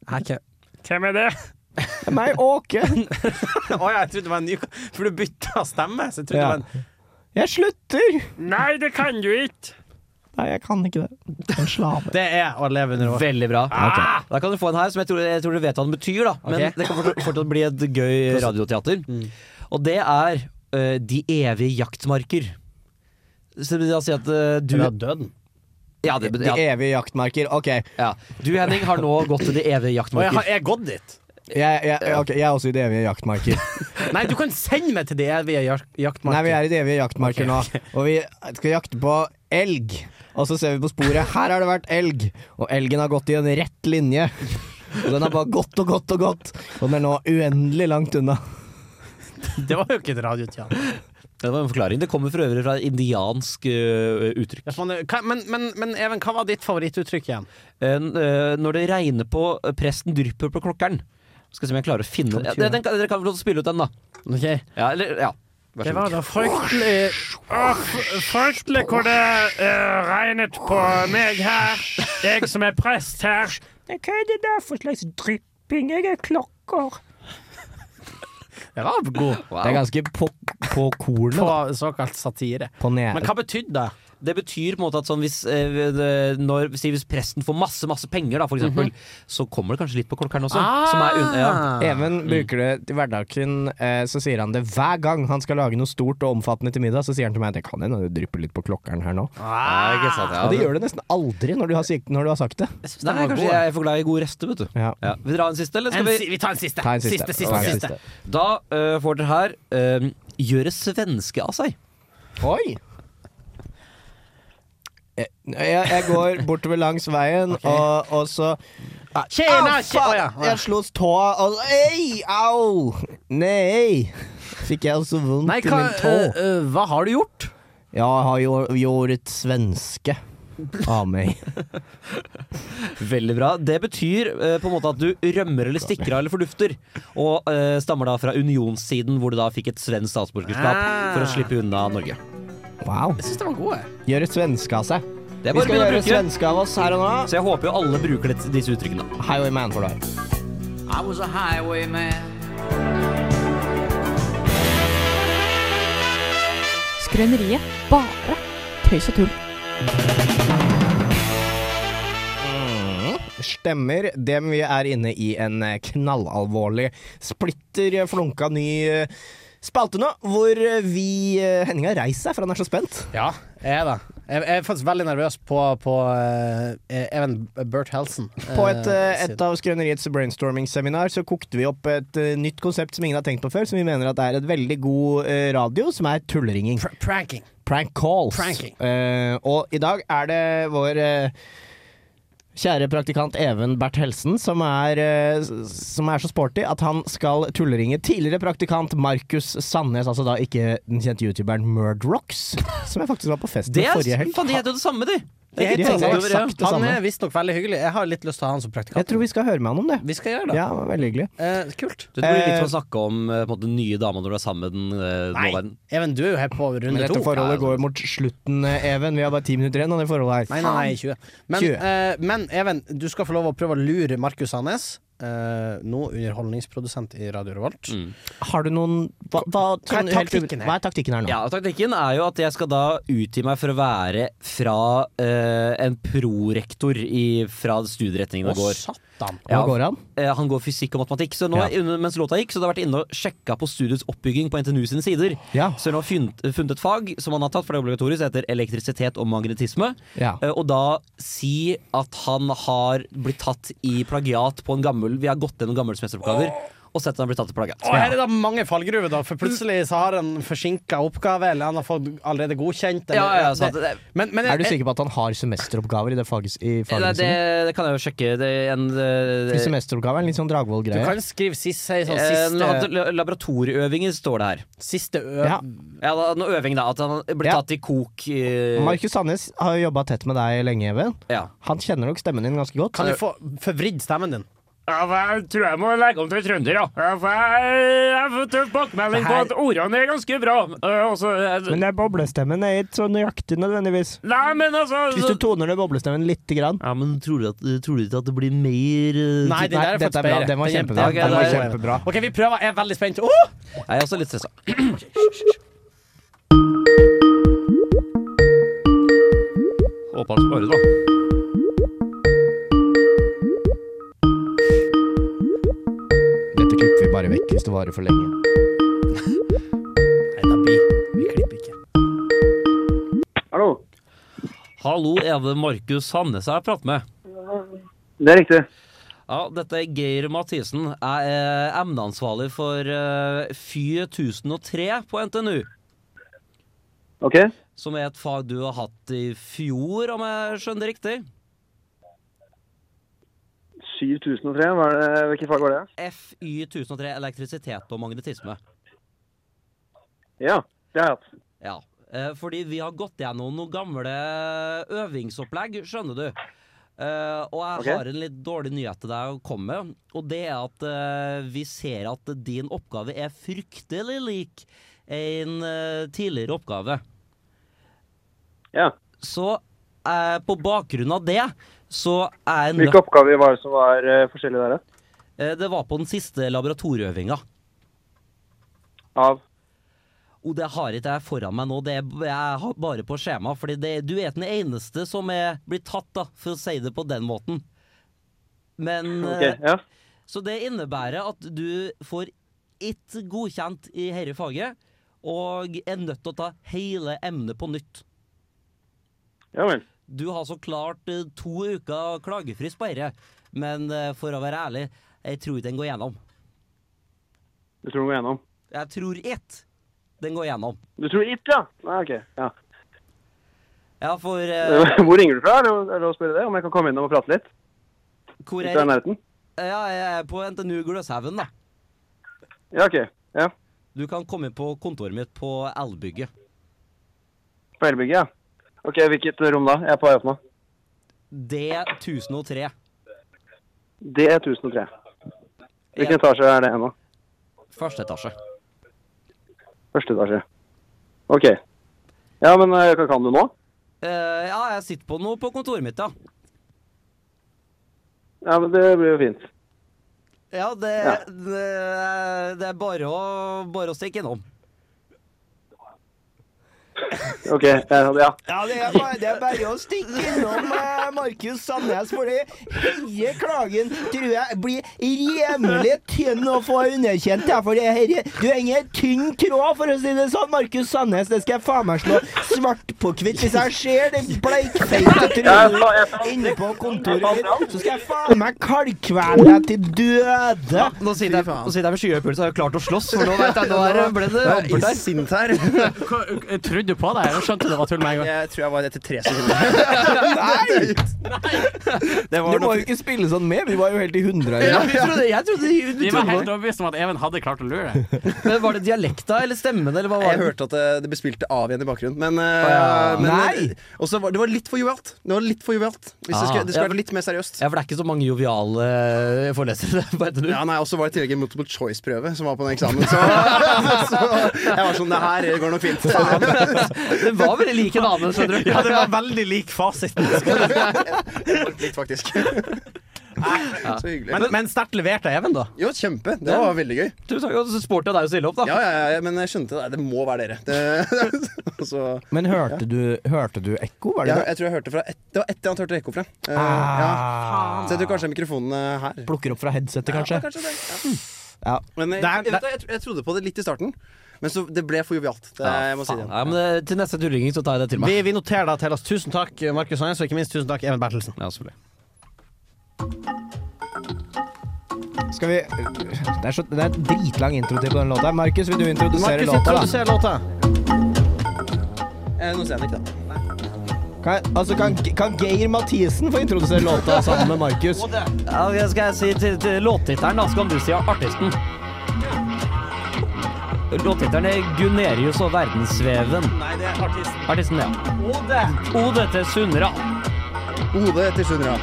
Hvem er det? Det er meg, Åke. Å ja, jeg trodde det var en ny For du bytta stemme. Så jeg trodde Ja. det var en Jeg slutter! Nei, det kan du ikke. Nei, jeg kan ikke det. En slave. Det er å leve under åket. Veldig bra. Da kan du få en her som jeg tror, jeg tror du vet hva den betyr, da. Men Ok. Mm. det kan fort- fortsatt bli et gøy radioteater. Og det er eh, De evige jaktmarker. Så det vil da si at eh, du Eller døden. ja, det, De ja, evige jaktmarker. Ok, jeg, ja. Du, Henning, har nå gått til De evige Å, jeg har jaktmarker. jeg har gått dit. jeg, ok, jeg er også i de evige jaktmarker. Nei, du kan sende meg til det evige jak Nei, vi jaktmarkedet. er i de evige jaktmarker nå, og vi skal jakte på elg. Og så ser vi på sporet. Her har det vært elg, og elgen har gått i en rett linje. Og den har bare gått og gått og gått, og den er nå uendelig langt unna. Det var jo ikke et radioteater. Det var en forklaring. Det kommer for øvrig fra et indiansk eh, uttrykk. Ja, faen, det- hva- Men, men, men Even, hva var ditt favorittuttrykk igjen? Eh, n- eh, når det regner på eh, presten drypper på klokkeren. Skal se om jeg klarer å finne ja, den, den, kan- Dere kan vel spille ut den, da. Ok. Ja, eller, ja. Vær Det så var god. da fryktelig Åh, f- Fryktelig hvor det eh, regnet på meg her. Jeg som er prest her. Hva er det der for slags drypping? Jeg er klokker. Det var god. Det er ganske på, på kornet, da. På såkalt satire. På Men ned. hva betydde det? Det betyr på en måte at sånn hvis, eh, det- når, si hvis presten får masse masse penger, da, for eksempel, Mhm. så kommer det kanskje litt på korkeren også. Ah! Som er un ja. Even mm. bruker det til hverdagen, eh, så sier han det hver gang han skal lage noe stort og omfattende til middag. Så sier han til meg det kan hende det drypper litt på klokkeren her nå. Ja, Ah, ikke sant, ja. og det gjør det nesten aldri når du har, sikt- når du har sagt det. Nei, kanskje jeg er for glad i gode rester, vet du. Ja. Ja. Vil dere ha en siste, eller skal En vi si- vi tar en siste. Ta en siste. Siste, siste, Ta en siste. siste. Da eh, får dere her eh, gjøre svenske av seg. Oi! Jeg, jeg, jeg går bortover langs veien, og, og så Ah, Tjena, Au, tje- faen! Å, ja, å, ja. Jeg slo tåa, og Ei, au! Nei! Fikk jeg altså vondt Nei, i hva, min tå? eh, eh, hva har du gjort? Ja, jeg har jo gjort svenske av meg. Veldig bra. Det betyr eh, på en måte at du rømmer eller stikker av eller fordufter. Og eh, stammer da fra unionssiden, hvor du da fikk et svensk statsborgerskap Ah. for å slippe unna Norge. Wow. Jeg syns den var god, jeg. Gjøre svenske av seg. Det er Vi bare å skal begynne å gjøre bruke. svenske av oss her og nå. Så jeg håper jo alle bruker dette, disse uttrykkene. Highwayman for deg. I was a highwayman. Skrøneriet. Bare tøys og tull. Stemmer. Det vi er inne i en eh, knallalvorlig, splitter eh, flunka ny eh, spalte nå, hvor eh, vi eh, Henning har reist seg, for han er så spent. Ja, jeg er det. Jeg, jeg er faktisk veldig nervøs på, på eh, Even Bert Helsen. På et, eh, eh, et av Skrøneriets brainstorming-seminar så kokte vi opp et eh, nytt konsept som ingen har tenkt på før, som vi mener at er et veldig god eh, radio, som er tulleringing. pranking. Prank calls. Pranking. Eh, og i dag er det vår eh, Kjære praktikant Even Bert Helsen, som er, eh, s- som er så sporty at han skal tulleringe tidligere praktikant Markus Sandnes, altså da ikke den kjente youtuberen Murdrocks, som jeg faktisk var på fest Det med er, forrige helg. faen, de heter jo det samme, de! Det er De helt heter sant. eksakt det Han samme. er visstnok veldig hyggelig. Jeg har litt lyst til å ha han som praktikant. Jeg tror vi skal høre med han om det. Vi skal gjøre det. Ja, det var veldig hyggelig. Eh, kult. Det blir litt som å snakke om eh, på en måte, den nye dama når du er sammen med den eh, nåværende. Even, du er jo her på Men runde dette to. forholdet går mot slutten, eh, Even. Vi har bare ti minutter igjen av det forholdet her. Nei, nei, nei, 20. Men, 20. eh, men Even, du skal få lov å prøve å lure Markus Sandnes. eh, nå underholdningsprodusent i Radio Revolt. Mm. Har du noen hva, hva, Hva er sånn helt- taktikken her? Hva er taktikken her nå? Ja, Taktikken er jo at jeg skal da utgi meg for å være fra eh, en prorektor i, fra studieretningen det Å, går. satan. Hva går han? Eh, han går fysikk og matematikk. Så nå, Ja. under- mens låta gikk, så hadde jeg vært inne og sjekka på studiets oppbygging på NTNU sine sider. Så hun har funnet, funnet et fag som han har tatt, for det er obligatorisk, det heter elektrisitet og magnetisme. Ja. Eh, og da si at han har blitt tatt i plagiat på en gammel Vi har gått gjennom gamle semesteroppgaver. Og sett at han blir tatt i plagiat. Og her er det mange fallgruver, da, for plutselig så har han forsinka oppgave, eller han har fått allerede godkjent. Eller, Ja, ja, sant. det- men, men, er du sikker på at han har semesteroppgaver i det faget? I Nei, fagene det, sine? det kan jeg jo sjekke. Det er en, For semesteroppgave er en litt sånn Du Dragvoll-greie. kan skrive sist, si sånn Eh, la- siste la- Laboratorieøvinger står det her. Siste ø... Ja. Ja, da, noe øving, da. At han ble tatt i kok. eh, Markus Sandnes har jo jobba tett med deg lenge, Even. Ja. Han kjenner nok stemmen din ganske godt. Kan du få forvridd stemmen din? Ja, hva- jeg tror jeg må legge om til trønder, ja. Ja, for Jeg jeg har fått bakmelding på Det her- at ordene er ganske bra. Eh, og så- jeg- Men det er boblestemmen er ikke så nøyaktig nødvendigvis. Nei, men altså Hvis du toner ned boblestemmen lite grann. Ja, men tror du, ikke at det blir mer Nei, den der er dette faktisk er bra. bedre. Den var Den er- kjempebra. Ok, Den var da- kjempebra. OK, vi prøver. Jeg er veldig spent. Åh! Jeg er også litt stressa. Håper han svarer, da. Dette klipper vi bare vekk hvis det varer for lenge. Hallo. Hallo, er det Markus Hannes jeg prater med? Det er riktig. Ja, dette er Geir Mathisen. Jeg er emneansvarlig for eh, FY 1003 på NTNU. Ok. Som er et fag du har hatt i fjor, om jeg skjønner det riktig? 7003, hva er det, hvilket fag var det? FY 1003 elektrisitet og magnetisme. Ja, det har jeg hatt. Ja. eh, Fordi vi har gått gjennom noen gamle øvingsopplegg, skjønner du. Eh, og jeg Ok. har en litt dårlig nyhet til deg å komme med. Og det er at eh, vi ser at din oppgave er fryktelig lik en eh, tidligere oppgave. Ja. Så eh, på bakgrunn av det, så er jeg nødt- Hvilke oppgaver var det som var eh, forskjellige der? da? Eh, Det var på den siste laboratorieøvinga. Av? oh, det har ikke jeg foran meg nå, det er, b- jeg har bare på skjema. Fordi det, du er den eneste som er blitt tatt, da, for å si det på den måten. Men Ok, eh, ja. Så det innebærer at du får ett godkjent i dette faget, og er nødt til å ta hele emnet på nytt. Ja vel. Du har så klart eh, to uker klagefrist på dette, men eh, for å være ærlig, jeg tror ikke den går gjennom. Du tror den går gjennom? Jeg tror ett den går gjennom. Du tror ikke, ja? Nei, ok. Ja. Ja, for eh, Hvor ringer du fra? Er det lov- er det lov å spørre det? Om jeg kan komme innom og prate litt? hvor Hvis du er i nærheten? Ja, jeg er på NTNU Gløshaugen, da. Ja, ok. Ja. Du kan komme inn på kontoret mitt på L-bygget. På elbygget, ja. Ok, hvilket rom da? Jeg er på vei opp nå. D1003. Det er 1003. Hvilken etasje er det ennå? Første etasje. Første etasje. Ok. Ja, men eh, hva kan du nå? Eh, ja, jeg sitter på noe på kontoret mitt, ja. Ja, men det blir jo fint. Ja, det, det, det er bare å, bare å stikke innom. Ok, eh, ja. Ja, det er bare, det er bare å stikke innom eh, Markus Sandnes, for det hele klagen tror jeg blir rimelig tynn å få underkjent. Ja, for det her, du henger tynn tråd, for å si det sånn, Markus Sandnes. Det skal jeg faen meg slå svart på hvitt. Hvis jeg ser den bleikfeite truen inne på kontoret mitt, så skal jeg faen meg kalkvele deg til døde. Nå sitter jeg, nå sitter jeg med skyhøy puls og har klart å slåss, for nå vet jeg, nå er det ble det rampert her. sint her. Trodde du på det? Jeg skjønte det var tull med en gang. Jeg tror jeg var etter tre sekunder. Nei! Det Du må jo ikke spille sånn med. Vi var jo helt i hundre her. Ja, vi trodde- jeg trodde du Vi var trodde helt overbevist om at Even hadde klart å lure deg. Men Var det dialekta eller stemmen, eller hva var Jeg det? hørte at det, det ble spilt av igjen i bakgrunnen. Men, ja. eh, men Nei! Og så var det var litt for jovialt. Det var litt for jovialt. Hvis Ah. det skulle, det Ja. skulle vært litt mer seriøst. Ja, for det er ikke så mange joviale eh, forelesere på NTNU. Ja, nei, Og så var det i tillegg en multiple choice-prøve som var på den eksamen, så, så jeg var sånn Det her går nok fint. Den var veldig lik en annen, skjønner du. Ja, det var veldig lik fasiten. Litt, faktisk. Ja. Så hyggelig. Men, men sterkt levert av Even, da. Jo, kjempe. Det Ja. var veldig gøy. Tusen takk. Og så sporty av deg å stille opp, da. Ja, ja, ja, men jeg skjønte det. Det må være dere. Det, og så- Men hørte du, hørte du ekko? Var det ja, det? jeg tror jeg hørte fra et, Det var ett jeg hørte ekko fra. Eh, Ah. ja. Så jeg tror kanskje mikrofonene her Plukker opp fra headsetet, Ja, kanskje? kanskje det. Ja. Ja. Men eh, jeg, Der- jeg, der- vet, da, jeg, tro- jeg trodde på det litt i starten, men så det ble for jovialt. Det, jeg må si det. Ja, men eh, til neste turringing så tar jeg det til meg. Vi, vi noterer det til oss. Tusen takk, Markus Hannes, og ikke minst tusen takk, Even Bertelsen. Ja, selvfølgelig. Skal vi Det er, så, det er en dritlang intro til på den låta. Markus, vil du introdusere Markus låta? da? introduserer låta. Eh, nå ser jeg den ikke, da. Kan, altså, kan, kan Geir Mathisen få introdusere låta sammen med Markus? Ja, ok, skal jeg si til, til låttitteren, da, så kan du si artisten. Låttitteren er Gunerius og verdensveven. Nei, det er artisten. Artisten, ja. Ode til Sundra. Ode til Sundra.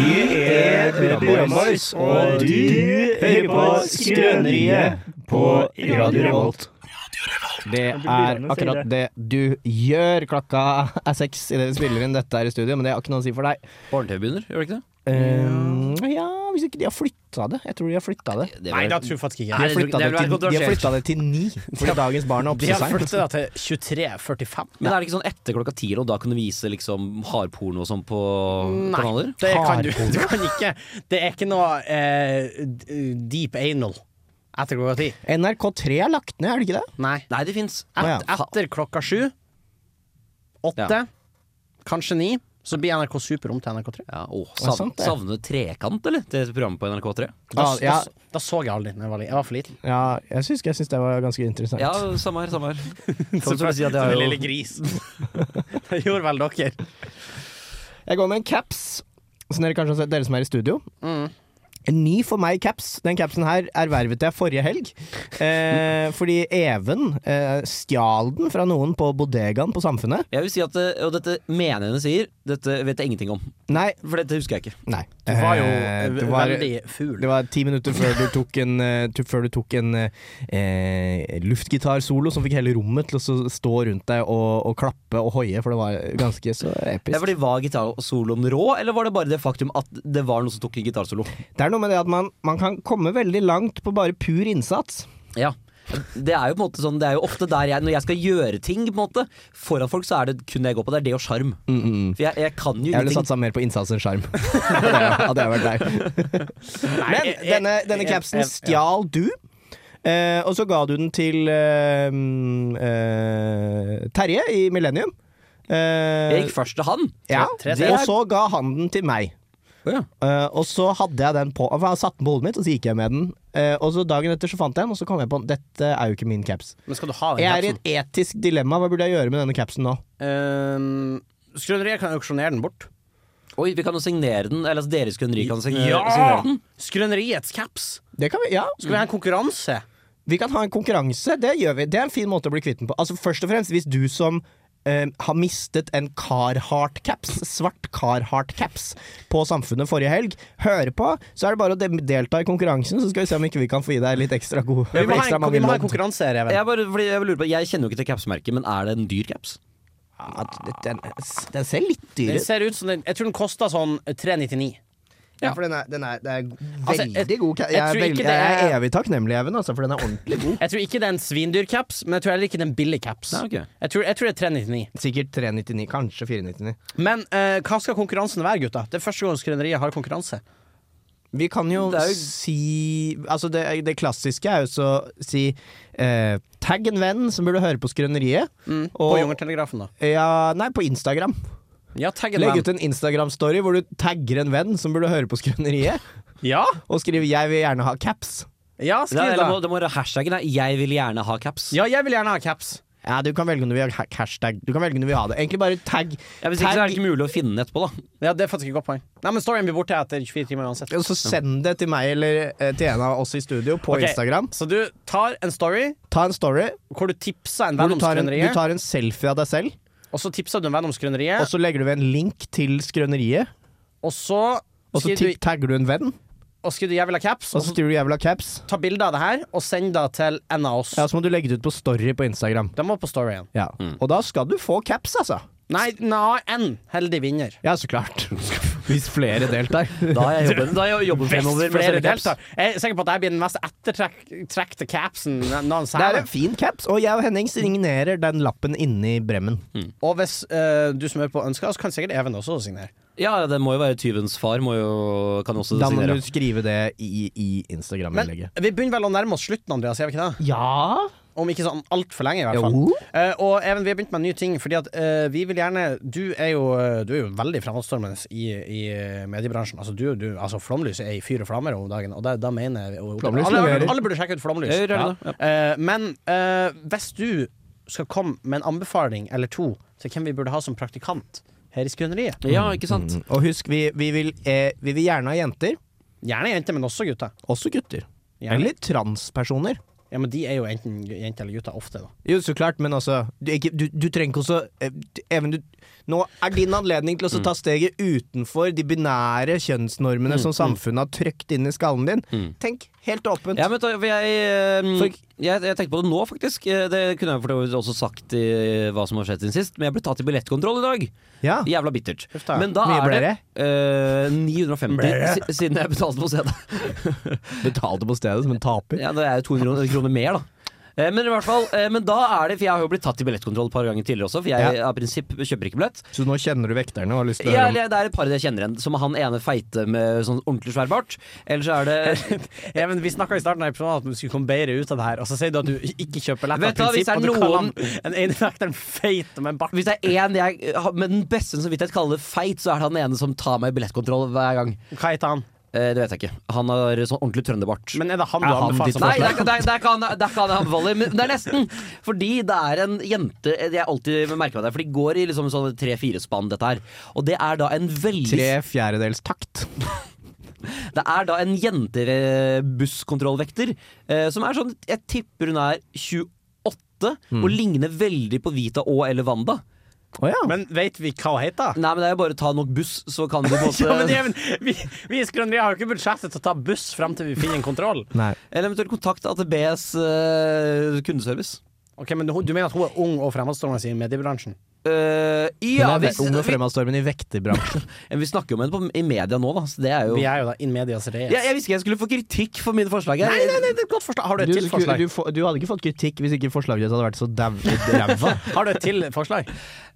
Vi er Ramois, og du hører på Skrøneriet på Radio Revolt. Det er akkurat det du gjør. Klokka er seks idet vi spiller inn dette her i studio, men det har ikke noe å si for deg. Barne-TV begynner, gjør det ikke det? Um, ja, hvis ikke de har flytta det. Jeg tror de har flytta det. Det var- tror jeg faktisk De har flytta det, til- de har flyttet det til ni, fordi dagens barn er oppe De så har seint. flyttet det til 23.45. Men er det ikke sånn etter klokka ti, og da kan du vise liksom hardporno og sånn på kanaler? det kan du, du kan ikke. Det er ikke noe eh, d- deep anal etter klokka ti. NRK3 er lagt ned, er det ikke det? Nei. Nei, det fins. Et, etter klokka sju, åtte, kanskje ni, så blir NRK Super om til NRK3. Ja, å, Det er savn, sant, det. savner du trekant, eller? Det programmet på NRK3? Da, Ah, ja. da, da så jeg aldri da jeg var, li- jeg var for liten. Ja, jeg syns, jeg syns det var ganske interessant. Ja, samme her, samme her. Sånn som du sier at jeg Som har en jo- lille gris. det gjorde vel dere. Jeg går med en caps, som dere kanskje har sett, dere som er i studio. Mm. En ny for meg caps. Den capsen her ervervet jeg forrige helg. Eh, fordi Even eh, stjal den fra noen på bodegaen på Samfunnet. Jeg vil si at, eh, og dette mener jeg hun sier, dette vet jeg ingenting om. Nei. For dette husker jeg ikke. Nei. Du var jo Eh, det v- var- veldig fugl. Det var ti minutter før du tok en, eh, tu- før du tok en eh, luftgitarsolo som fikk hele rommet til å så stå rundt deg og, og klappe og hoie, for det var ganske så episk. Ja, fordi Var gitarsoloen rå, eller var det bare det faktum at det var noen som tok en gitarsolo? Det er noe med det at man, man kan komme veldig langt på bare pur innsats. Ja. Det er jo på en måte sånn, det er jo ofte der jeg, når jeg skal gjøre ting på en måte, foran folk, så er det kun det jeg går på. Det er det og sjarm. For jeg, jeg kan jo Jeg sånn ville ingenting. satsa mer på innsats enn sjarm. Hadde jeg vært deg. Men denne, denne capsen stjal du. eh, og så ga du den til eh, mm, eh, Terje i Millennium. Eh, Jeg gikk først til han. Ja, Tre- tre- og så ga han den til meg. Eh, og så hadde jeg den på For jeg satte den på hodet mitt, og så gikk jeg med den. Eh, og så Dagen etter så fant jeg den, og så kom jeg på den. Dette er jo ikke min caps. Men skal du ha den Jeg er i et etisk dilemma. Hva burde jeg gjøre med denne capsen nå? Ehm, capsen? Eh, Skrøneriet kan auksjonere den bort. Oi, vi kan jo signere den. Eller altså, deres skrøneri kan Eh, signere, signere Ja! den. Skrøneriets caps. Det kan vi, ja. Skal vi ha en konkurranse? Vi kan ha en konkurranse, det gjør vi. Det er en fin måte å bli kvitt den på. Altså Først og fremst, hvis du som eh, har mistet en Carhartt-caps, svart Carhartt-caps, på Samfunnet forrige helg, hører på, så er det bare å de- delta i konkurransen, så skal vi se om ikke vi kan få gi deg litt ekstra god Vi må ha ekstra en, mange vi må ha en lodd. konkurranse her, Even. Jeg, bare, fordi jeg lurer på, jeg kjenner jo ikke til capsmerket, men er det en dyr caps? Ja, den, ser litt Den ser ut som den Jeg tror den kosta sånn 399. Ja, for den er, den er, det er veldig Altså, jeg- god ca- jeg, jeg er tror ikke veldig- det jeg er er- evig takknemlig, Even, altså, for den er ordentlig god. Jeg tror ikke det er en svindyr caps, men jeg tror heller ikke det er en billig caps. Nei, ok. jeg, tror, jeg tror det er 399. Sikkert 399, kanskje 499. Men eh, hva skal konkurransen være, gutta? Det er første gang Skrøneriet har konkurranse. Vi kan jo, Det er jo- si Altså, det, det klassiske er jo så å si eh, Tagg en venn som burde høre på Skrøneriet. Mm. på Jungeltelegrafen, da. Ja, nei, på Instagram. Ja, tagg en Legg venn. ut en Instagram-story hvor du tagger en venn som burde høre på Skrøneriet. Ja? Og skriv 'Jeg vil gjerne ha caps'. Ja, Ja, skriv eller da. må, det må være hashtaggen er 'jeg vil gjerne ha caps'. Ja, jeg vil gjerne ha caps. Ja, Du kan velge om du vil ha ha- hashtag. Du kan velge om du vil ha det. Egentlig bare tagg. Ja, hvis ikke så er tagg- det ikke mulig å finne den etterpå, da. Ja, det er faktisk et godt poeng. Nei, men storyen blir borte etter 24 timer uansett. Og så send det til meg eller eh, til en av oss i studio på Ok, Instagram. Så du tar en story Ta en story hvor du tipser en hvor venn du om tar en, du Skrøneriet, tar en selfie av deg selv, og så tipser du en venn om Skrøneriet, og så legger du ved en link til Skrøneriet. og så Og så skriver tipp- tagger du en venn, du og skriver du 'jeg vil ha caps', og så skriver du 'jævla caps'. ta bilde av det her og send det til en av oss. Ja, Så må du legge det ut på story på Instagram. Den må på storyen. Ja. Og da skal du få caps, altså. Nei, nei, en heldig vinner. Ja, så klart. Hvis flere deltar. Da er jeg jobben, da er jeg jobben Hvis fremover. med å flere selge caps. deltar. Jeg er sikker på at jeg blir den mest ettertrekte capsen Det er noensinne. en fin caps, og jeg og Henning signerer den lappen inni bremmen. Og hvis eh, du som hører på ønsker, så kan sikkert Even også signere. Ja, det må jo være tyvens far, må jo, kan også Da må signere. du skrive det i, i Men Instagram-innlegget. vi begynner vel å nærme oss slutten, Andreas? Gjør vi ikke det? Ja Om ikke sånn altfor lenge, i hvert fall. Jo. Eh, og Even, vi har begynt med en ny ting, fordi at eh, vi vil gjerne Du er jo, eh, du er jo veldig fremadstormende i, i mediebransjen. Altså, du, du, altså Flomlys er i fyr og flammer om dagen, og det, da mener jeg og- Flomlys alle, alle, leverer. alle burde sjekke ut Flomlys. Jeg gjør det, Eh, men eh, hvis du skal komme med en anbefaling eller to til hvem vi burde ha som praktikant her i Skrøneriet Ja, ikke sant? Mm. Og husk, vi, vi, vil, eh, vi vil gjerne ha jenter. Gjerne jenter, men også gutter. Også gutter. Gjerne. Eller transpersoner. Ja, men de er jo enten jenter eller gutter ofte, da. Jo, så klart, men altså Du, ikke, du, du trenger ikke også eh, du- Even, du, nå er din anledning til å Mm. så ta steget utenfor de binære kjønnsnormene mm. som samfunnet har trykt inn i skallen din. Tenk helt åpent. Ja, men da- for jeg, ehm, For- jeg, jeg tenkte på det nå, faktisk. Eh, Det kunne jeg for så vidt også sagt i eh, hva som har skjedd siden sist, men jeg ble tatt i billettkontroll i dag. Ja. Jævla bittert. da. Men Ah. da Mye er ble det eh, 950 Ble det? si- siden jeg betalte på stedet. Betalte på stedet som en taper. Ja, det er jo 200 kroner mer, da. Eh, Men i hvert fall, eh, men da er det, for jeg har jo blitt tatt i billettkontroll et par ganger tidligere også, for jeg Ja. av prinsipp kjøper ikke billett. Så nå kjenner du vekterne og har lyst til å Ja, høre om eller det er et par jeg kjenner igjen, som han ene feite med sånn ordentlig svær bart. Eller så er det Even, vi snakka i starten av episoden at du skulle komme bedre ut av det her, og så sier du at du ikke kjøper billett Vet du hva, hvis det er og du kaller noen- han en enevekteren feit med en bart. Hvis det er én jeg har- med den beste samvittighet kaller det feit, så er det han ene som tar meg i billettkontroll hver gang. Hva heter han? Eh, det vet jeg ikke. Han har sånn ordentlig trønderbart. Men er det han du Er han anbefaler ditt- som Nei, det er, forslag? ikke- det, er, det, er ikke han, det er ikke han jeg anbefaler, men det er nesten. Fordi det er en jente jeg alltid merker meg det, for de går i liksom sånn tre-fire spann, dette her. Og det er da en veldig tre fjerdedels takt. Det er da en jente ved busskontrollvekter eh, som er sånn Mm. Jeg tipper hun er 28 og ligner veldig på Vita og eller Wanda. Men vet vi hva hun heter? Nei, men det er jo bare å ta nok buss, så kan du på en måte ja, men, det- men, vi, vi i Skrøneriet har jo ikke budsjettet til å ta buss frem til vi finner en kontroll. Eller eventuelt kontakt AtBs eh, kundeservice. Ok, men hun- Du mener at hun er ung og fremadstormende i mediebransjen? Eh, ja, Hun er hvis- ung og vi- fremadstormende i vekterbransjen. Ja, Vi snakker jo om henne på- i media nå, da. Så det er jo Vi er jo da in medias res. Ja, jeg visste ikke jeg skulle få kritikk for mine forslag. Jeg- Nei, nei, nei, det er et godt forslag. Har du et Du, til forslag? skulle- du, få- du hadde ikke fått kritikk hvis ikke forslaget ditt hadde vært så dau- ræva. Har du et til forslag?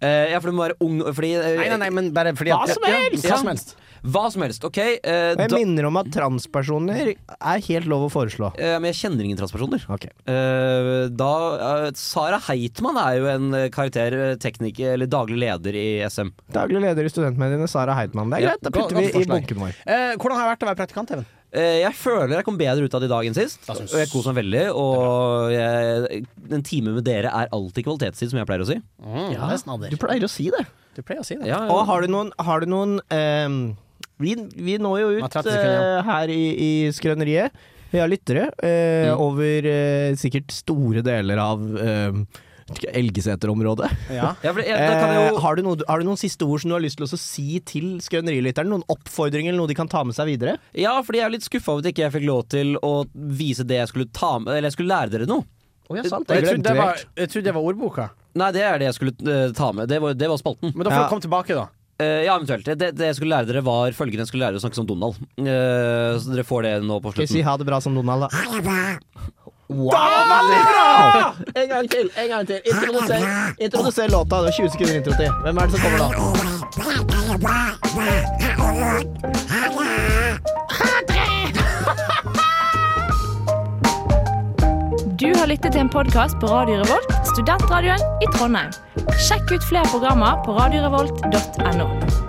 Eh, ja, for du må være ung fordi eh, Nei, nei, nei, men bare fordi Hva at- som Ja, helst! Hva som helst. Hva som helst. Ok. Eh, Og jeg minner om at transpersoner er helt lov å foreslå. Eh, men jeg kjenner ingen transpersoner. Eh, da, eh, Sara Heitmann er jo en eh, karakter, eh, tekniker eller daglig leder i SM. Daglig leder i studentmediene, Sara Heitmann. Det er Ja, greit, da godt- putter vi godt i forslag. bunken vår. Eh, hvordan har det vært å være praktikant, Even? Eh, jeg føler jeg kom bedre ut av det i dag enn sist, og jeg koser meg veldig. Og jeg, en time med dere er alltid kvalitetstid, som jeg pleier å si. Ja, det er snadder. Du pleier å si det. Du pleier å si det. Ja, ja. Og har du noen, har du noen ehm, vi, vi når jo Nå er ut 30 sekunder igjen. eh, her i, i skrøneriet. Vi har lyttere eh, Mm. over eh, sikkert store deler av eh, Elgeseter-området. Ja. Ja, for det- da kan jeg jo- Eh, har, du noe, har du noen siste ord som du har lyst til å si til skrønerilytteren? Noen oppfordringer eller noe de kan ta med seg videre? Ja, fordi jeg er litt skuffa over at ikke jeg fikk lov til å vise det jeg skulle ta med Eller jeg skulle lære dere noe. Oh, jeg, trodde det var, jeg trodde det var ordboka. Nei, det er det jeg skulle eh, ta med. Det var, det var spalten. Men da får du komme tilbake, da. Eh, ja, eventuelt. Det, det jeg skulle lære dere, var følgende jeg skulle lære dere å snakke som Donald. Eh, så dere får det nå på Skal vi si slutten. ha det bra som Donald, da? Wow! En gang til, en gang til. Introduser, introduser låta. Det er 20 sekunder intro til. Hvem er det som kommer da? Du har lyttet til en podkast på Radio Revolt, studentradioen i Trondheim. Sjekk ut flere programmer på radiorevolt.no.